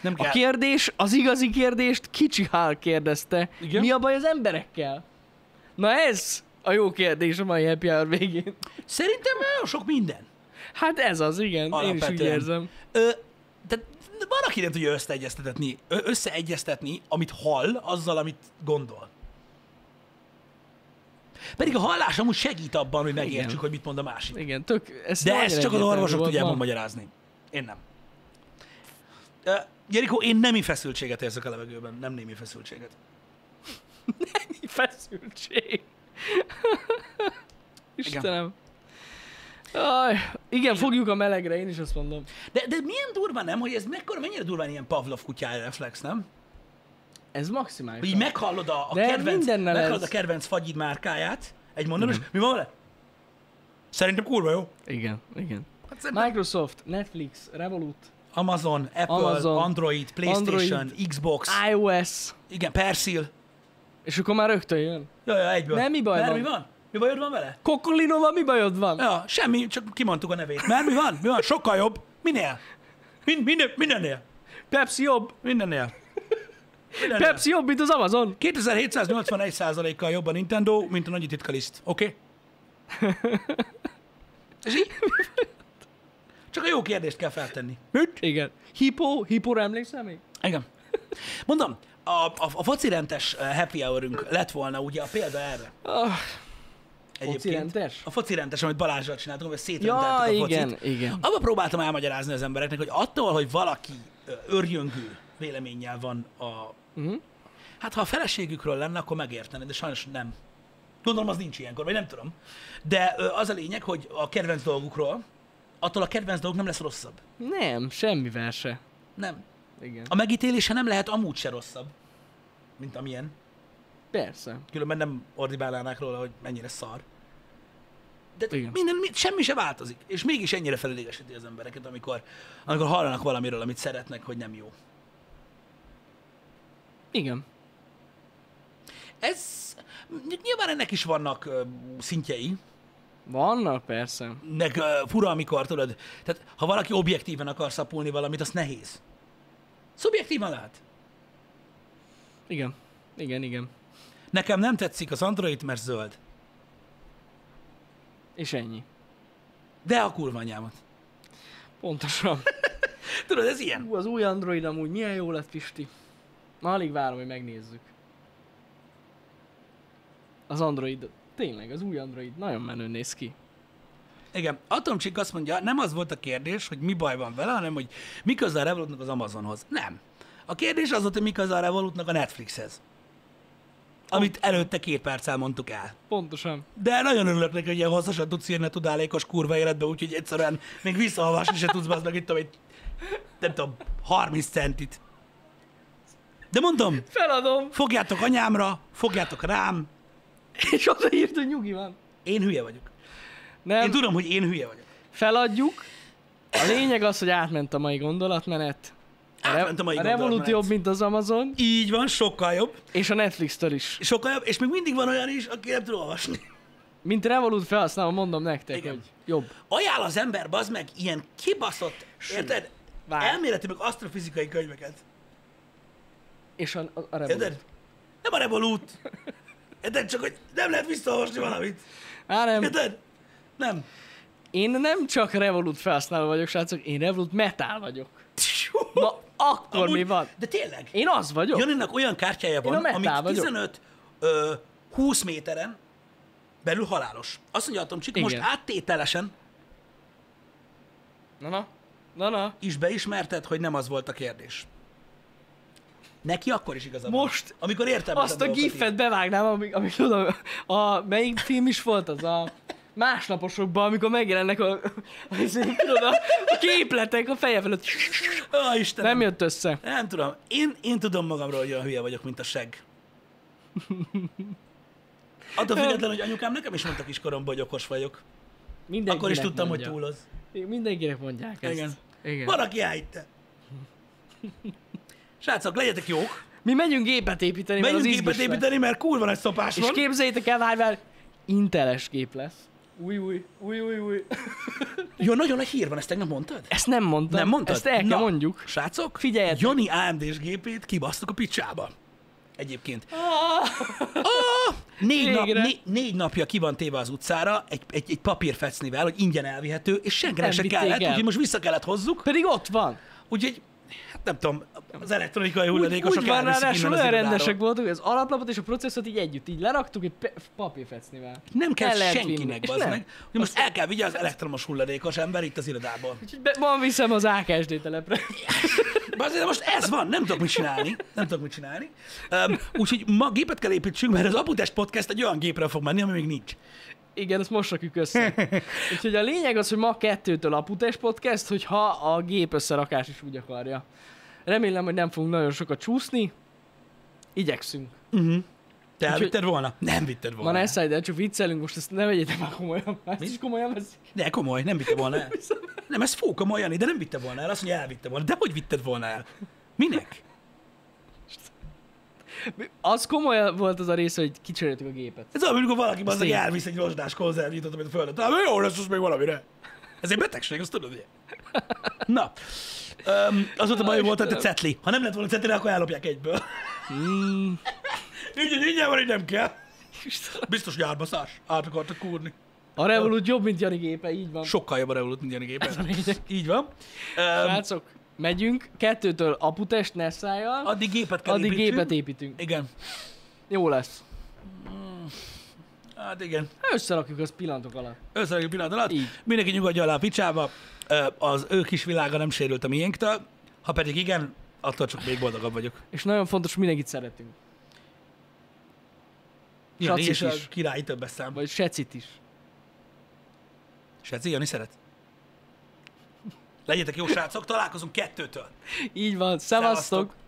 [SPEAKER 1] Nem
[SPEAKER 2] A
[SPEAKER 1] kell.
[SPEAKER 2] kérdés, az igazi kérdést kicsi Hál kérdezte.
[SPEAKER 1] Igen?
[SPEAKER 2] Igen? Mi a baj az emberekkel? Na ez a jó kérdés a mai happy hour végén.
[SPEAKER 1] Szerintem nagyon sok minden.
[SPEAKER 2] Hát ez az, igen. Alapvetően. Én is úgy
[SPEAKER 1] Alapvetően.
[SPEAKER 2] érzem.
[SPEAKER 1] Ö, tehát van, aki nem tudja összeegyeztetni, ö- összeegyeztetni, amit hall, azzal, amit gondol. Pedig a hallás amúgy segít abban, hogy megértsük,
[SPEAKER 2] Igen.
[SPEAKER 1] hogy mit mond a másik.
[SPEAKER 2] Igen, tök... Ez
[SPEAKER 1] De ezt csak az orvosok tudják megmagyarázni. Én nem. Ö, Jerikó, én nemi feszültséget érzek a levegőben, nem némi feszültséget.
[SPEAKER 2] Mennyi <laughs> feszültség. <laughs> Istenem. Aj, igen, fogjuk a melegre, én is azt mondom.
[SPEAKER 1] De, de milyen durva nem, hogy ez mekkora, mennyire durván ilyen Pavlov kutyája reflex, nem?
[SPEAKER 2] Ez
[SPEAKER 1] Hogy
[SPEAKER 2] maximális.
[SPEAKER 1] így meghallod a, a,
[SPEAKER 2] De
[SPEAKER 1] kedvenc,
[SPEAKER 2] mindennel
[SPEAKER 1] meghallod
[SPEAKER 2] ez. Mhm.
[SPEAKER 1] a kedvenc fagyid márkáját, egy mondat, és mi van vele? Szerintem kurva jó.
[SPEAKER 2] Igen, igen.
[SPEAKER 1] Hát szerintem
[SPEAKER 2] Microsoft, Netflix, Revolut,
[SPEAKER 1] Amazon, Apple, Amazon,
[SPEAKER 2] Amazon,
[SPEAKER 1] Android, PlayStation, Android.
[SPEAKER 2] Android.
[SPEAKER 1] Xbox,
[SPEAKER 2] iOS,
[SPEAKER 1] igen, Persil.
[SPEAKER 2] és akkor már rögtön jön.
[SPEAKER 1] Jaj, jaj, egyből.
[SPEAKER 2] Nem, mi baj
[SPEAKER 1] Mert
[SPEAKER 2] van?
[SPEAKER 1] mi van? Mi bajod van vele?
[SPEAKER 2] Kokolinova, mi bajod van?
[SPEAKER 1] Ja, semmi, csak kimondtuk a nevét. Mert mi van? Mi van? Sokkal jobb. Minél? Min, minden, mindennél.
[SPEAKER 2] Pepsi jobb.
[SPEAKER 1] Mindennél. mindennél.
[SPEAKER 2] Pepsi jobb, mint az Amazon.
[SPEAKER 1] 2781%-kal jobb a Nintendo, mint a nagy titka liszt. Oké? Okay? Csak a jó kérdést kell feltenni.
[SPEAKER 2] Mit? Igen. Hippo, hippóra emlékszel még?
[SPEAKER 1] Igen. Mondom, a, a, a focirentes eh, happy hourünk lett volna ugye a példa erre.
[SPEAKER 2] Ah,
[SPEAKER 1] Egyébként.
[SPEAKER 2] Focirentes?
[SPEAKER 1] A focirentes, amit Balázsral csináltunk, amivel
[SPEAKER 2] ja,
[SPEAKER 1] szétrendeltük a focit.
[SPEAKER 2] igen, igen.
[SPEAKER 1] Abba próbáltam elmagyarázni az embereknek, hogy attól, hogy valaki ö, örjöngő véleménnyel van a...
[SPEAKER 2] mhm.
[SPEAKER 1] Uh-huh. Hát ha a feleségükről lenne, akkor megértenéd, de sajnos nem. Gondolom, az nincs ilyenkor, vagy nem tudom. De ö, az a lényeg, hogy a kedvenc dolgukról, attól a kedvenc dolguk nem lesz rosszabb.
[SPEAKER 2] Nem, semmivel se.
[SPEAKER 1] Nem.
[SPEAKER 2] Igen.
[SPEAKER 1] A megítélése nem lehet amúgy se rosszabb, mint amilyen.
[SPEAKER 2] Persze.
[SPEAKER 1] Különben nem ordibálnának róla, hogy mennyire szar. De
[SPEAKER 2] Igen.
[SPEAKER 1] minden, mi- semmi se változik, és mégis ennyire felelőgesíti az embereket, amikor, amikor hallanak valamiről, amit szeretnek, hogy nem jó.
[SPEAKER 2] Igen.
[SPEAKER 1] Ez ny- nyilván ennek is vannak ö, szintjei,
[SPEAKER 2] Vannak persze.
[SPEAKER 1] meg ö, fura, amikor tudod, tehát ha valaki objektíven akar szapulni valamit, az nehéz. Szubjektívan lehet.
[SPEAKER 2] Igen. Igen, igen.
[SPEAKER 1] Nekem nem tetszik az Android, mert zöld.
[SPEAKER 2] És ennyi.
[SPEAKER 1] De a kurva anyámat.
[SPEAKER 2] Pontosan.
[SPEAKER 1] Tudod, ez ilyen.
[SPEAKER 2] <laughs> Hú, az új Android amúgy milyen jó lett, Pisti. Már alig várom, hogy megnézzük. Az Android, tényleg, az új Android nagyon menő néz ki.
[SPEAKER 1] Igen, Atomcsik azt mondja, nem az volt a kérdés, hogy mi baj van vele, hanem hogy mi köze a Revolutnak az Amazonhoz. Nem. A kérdés az volt, hogy mi köze a Revolutnak a Netflixhez. Amit előtte két perccel mondtuk el.
[SPEAKER 2] Pontosan.
[SPEAKER 1] De nagyon örülök neki, hogy ilyen hosszasan tudsz írni a tudálékos kurva életbe, úgyhogy egyszerűen még visszaolvasni se tudsz, bazd meg itt egy, nem tudom, 30 centit. De mondom,
[SPEAKER 2] Feladom! <laughs>
[SPEAKER 1] fogjátok anyámra, fogjátok rám,
[SPEAKER 2] És odaírt, hogy nyugi van.
[SPEAKER 1] én hülye vagyok.
[SPEAKER 2] Nem,
[SPEAKER 1] Én tudom, hogy én hülye vagyok.
[SPEAKER 2] feladjuk. A lényeg az, hogy átment a mai gondolatmenet. A,
[SPEAKER 1] Átment a mai
[SPEAKER 2] a Revolut
[SPEAKER 1] gondolatmenet.
[SPEAKER 2] jobb, mint az Amazon,
[SPEAKER 1] Így van, sokkal jobb.
[SPEAKER 2] és a Netflix-től is.
[SPEAKER 1] Sokkal jobb, és még mindig van olyan is, aki nem tud olvasni.
[SPEAKER 2] Mint Revolut felhasználó, mondom nektek,
[SPEAKER 1] Igen.
[SPEAKER 2] hogy jobb.
[SPEAKER 1] Ajánl az ember, bazd meg, ilyen kibaszott, érted?
[SPEAKER 2] várj.
[SPEAKER 1] Elméleti meg asztrofizikai könyveket.
[SPEAKER 2] És a, a, a Revolut.
[SPEAKER 1] Érted? Nem a Revolut. Érted? Csak, hogy nem lehet visszaolvasni valamit.
[SPEAKER 2] Á, nem.
[SPEAKER 1] Érted? Nem.
[SPEAKER 2] Én nem csak Revolut felhasználó vagyok, srácok, én Revolut metal vagyok. Na, akkor
[SPEAKER 1] Amúgy-
[SPEAKER 2] mi van?
[SPEAKER 1] De tényleg.
[SPEAKER 2] Én az vagyok.
[SPEAKER 1] Janinak olyan kártyája
[SPEAKER 2] Én
[SPEAKER 1] van,
[SPEAKER 2] a metál
[SPEAKER 1] amit
[SPEAKER 2] vagyok.
[SPEAKER 1] 15 ö, 20 méteren belül halálos. Azt mondja Atomcsik, most
[SPEAKER 2] Igen.
[SPEAKER 1] áttételesen
[SPEAKER 2] Na, na. Na, na.
[SPEAKER 1] is beismerted, hogy nem az volt a kérdés. Neki akkor is igazad van.
[SPEAKER 2] Most
[SPEAKER 1] amikor értem
[SPEAKER 2] Azt a gifet bevágnám, amik, amik tudom, a, melyik film is volt az a másnaposokban, amikor megjelennek a, a, izé, tudod, a, a képletek a feje felett.
[SPEAKER 1] Ó, Istenem.
[SPEAKER 2] Nem
[SPEAKER 1] Nem,
[SPEAKER 2] jött össze.
[SPEAKER 1] nem tudom. Én, én tudom magamról, hogy olyan hülye vagyok, mint a seg. Attól függetlenül, hogy anyukám nekem is mondta kiskoromban, hogy okos vagyok.
[SPEAKER 2] Mindenkinek
[SPEAKER 1] Akkor is tudtam, hogy
[SPEAKER 2] mondja.
[SPEAKER 1] túloz.
[SPEAKER 2] Mindenkinek mondják ezt.
[SPEAKER 1] Igen.
[SPEAKER 2] Igen.
[SPEAKER 1] Van, aki állítte. Srácok, legyetek jók.
[SPEAKER 2] Mi megyünk gépet építeni,
[SPEAKER 1] Menjünk
[SPEAKER 2] mert az
[SPEAKER 1] gépet
[SPEAKER 2] izgos lesz.
[SPEAKER 1] építeni, mert kurva nagy szopás
[SPEAKER 2] És
[SPEAKER 1] van.
[SPEAKER 2] képzeljétek el, várj, várj, inteles gép lesz. Új, új, új, új, új.
[SPEAKER 1] Jó, nagyon nagy hír van, ezt tegnap mondtad?
[SPEAKER 2] Ezt nem mondtam.
[SPEAKER 1] Nem mondtad?
[SPEAKER 2] Ezt el kell
[SPEAKER 1] Na.
[SPEAKER 2] mondjuk.
[SPEAKER 1] Srácok,
[SPEAKER 2] Figyeljetek.
[SPEAKER 1] Jani AMD-s gépét kibasztuk a picsába. Egyébként. Ah. Ó, négy, nap,
[SPEAKER 2] Ah, Végre.
[SPEAKER 1] né, négy napja ki van téve az utcára egy, egy, egy papírfecnivel, hogy ingyen elvihető, és senkinek
[SPEAKER 2] Nem
[SPEAKER 1] se
[SPEAKER 2] vitték
[SPEAKER 1] kellett,
[SPEAKER 2] el.
[SPEAKER 1] úgyhogy most vissza kellett hozzuk.
[SPEAKER 2] Pedig ott van.
[SPEAKER 1] Úgyhogy, hát nem tudom, az elektronikai
[SPEAKER 2] Úgy,
[SPEAKER 1] hulladékosok
[SPEAKER 2] úgy van,
[SPEAKER 1] elviszik
[SPEAKER 2] ráadásul
[SPEAKER 1] innen az
[SPEAKER 2] olyan
[SPEAKER 1] irodáról.
[SPEAKER 2] rendesek voltunk, az alaplapot és a processzort így együtt, így leraktuk egy pe- papírfecnivel.
[SPEAKER 1] Nem kell
[SPEAKER 2] El lehet vinni.
[SPEAKER 1] senkinek,
[SPEAKER 2] És
[SPEAKER 1] bazd
[SPEAKER 2] nem.
[SPEAKER 1] meg. Hogy most el kell vigyázni az elektromos hulladékos ember itt az irodából.
[SPEAKER 2] Úgyhogy be- ma viszem az AKSD telepre. <laughs>
[SPEAKER 1] Bazd, de most ez van, nem tudok mit csinálni. Nem tudok mit csinálni. Um, úgyhogy ma gépet kell építsünk, mert az Aputest Podcast egy olyan gépre fog menni, ami még nincs.
[SPEAKER 2] Igen, ezt most
[SPEAKER 1] <laughs>
[SPEAKER 2] rakjuk össze. Úgyhogy a lényeg az, hogy ma kettőtől a Putes Podcast, hogyha a gép összerakás is úgy akarja. Remélem, hogy nem fogunk nagyon sokat csúszni. Igyekszünk.
[SPEAKER 1] Te elvitted volna? Nem vitted
[SPEAKER 2] Ma
[SPEAKER 1] volna.
[SPEAKER 2] ne szállj, csak viccelünk, most ezt ne vegyétek már komolyan. Ezt is komolyan veszik.
[SPEAKER 1] De komoly, nem vitte volna el. Nem, ez fóka ma, Jani, de nem vitte volna el. Azt mondja, elvitte volna. De hogy vitted volna el? Minek?
[SPEAKER 2] Az komoly volt az a része, hogy kicseréltük a gépet.
[SPEAKER 1] Ez olyan, mint amikor valaki az, hogy
[SPEAKER 2] így.
[SPEAKER 1] elvisz egy rozsdás konzervét, amit a földre talál. Jó, lesz az még valamire. Ez egy betegség, azt tudod, ugye? Na, um, azóta baj volt, hogy a cetli. Ha nem lett volna cetli, akkor ellopják egyből.
[SPEAKER 2] Mm.
[SPEAKER 1] Így, így van, így nem kell. Biztos, hogy árbaszás. Át akartak kúrni.
[SPEAKER 2] A Revolut jobb, mint Jani gépe, így van.
[SPEAKER 1] Sokkal jobb a Revolut, mint Jani
[SPEAKER 2] Ez a
[SPEAKER 1] gépen.
[SPEAKER 2] lényeg.
[SPEAKER 1] Így van. Um,
[SPEAKER 2] Srácok, megyünk, kettőtől aputest Nessájjal,
[SPEAKER 1] addig gépet kell
[SPEAKER 2] Hát, addig
[SPEAKER 1] építsünk.
[SPEAKER 2] gépet építünk.
[SPEAKER 1] Igen.
[SPEAKER 2] Jó lesz.
[SPEAKER 1] Hát igen.
[SPEAKER 2] Összerakjuk az pillanatok alatt.
[SPEAKER 1] Összerakjuk pillanat alatt.
[SPEAKER 2] Így.
[SPEAKER 1] Mindenki nyugodjon le a picsába. Ö, Az ő kis világa nem sérült a miénktől. Ha pedig igen, attól csak még boldogabb vagyok.
[SPEAKER 2] És nagyon fontos, hogy mindenkit szeretünk.
[SPEAKER 1] Jani
[SPEAKER 2] Sacit
[SPEAKER 1] és a
[SPEAKER 2] is.
[SPEAKER 1] királyi többes szám.
[SPEAKER 2] Vagy secit is.
[SPEAKER 1] Seci, Jani szeret. Legyetek jó srácok, találkozunk kettőtől.
[SPEAKER 2] Így van,
[SPEAKER 1] Szevasztok.
[SPEAKER 2] szevasztok!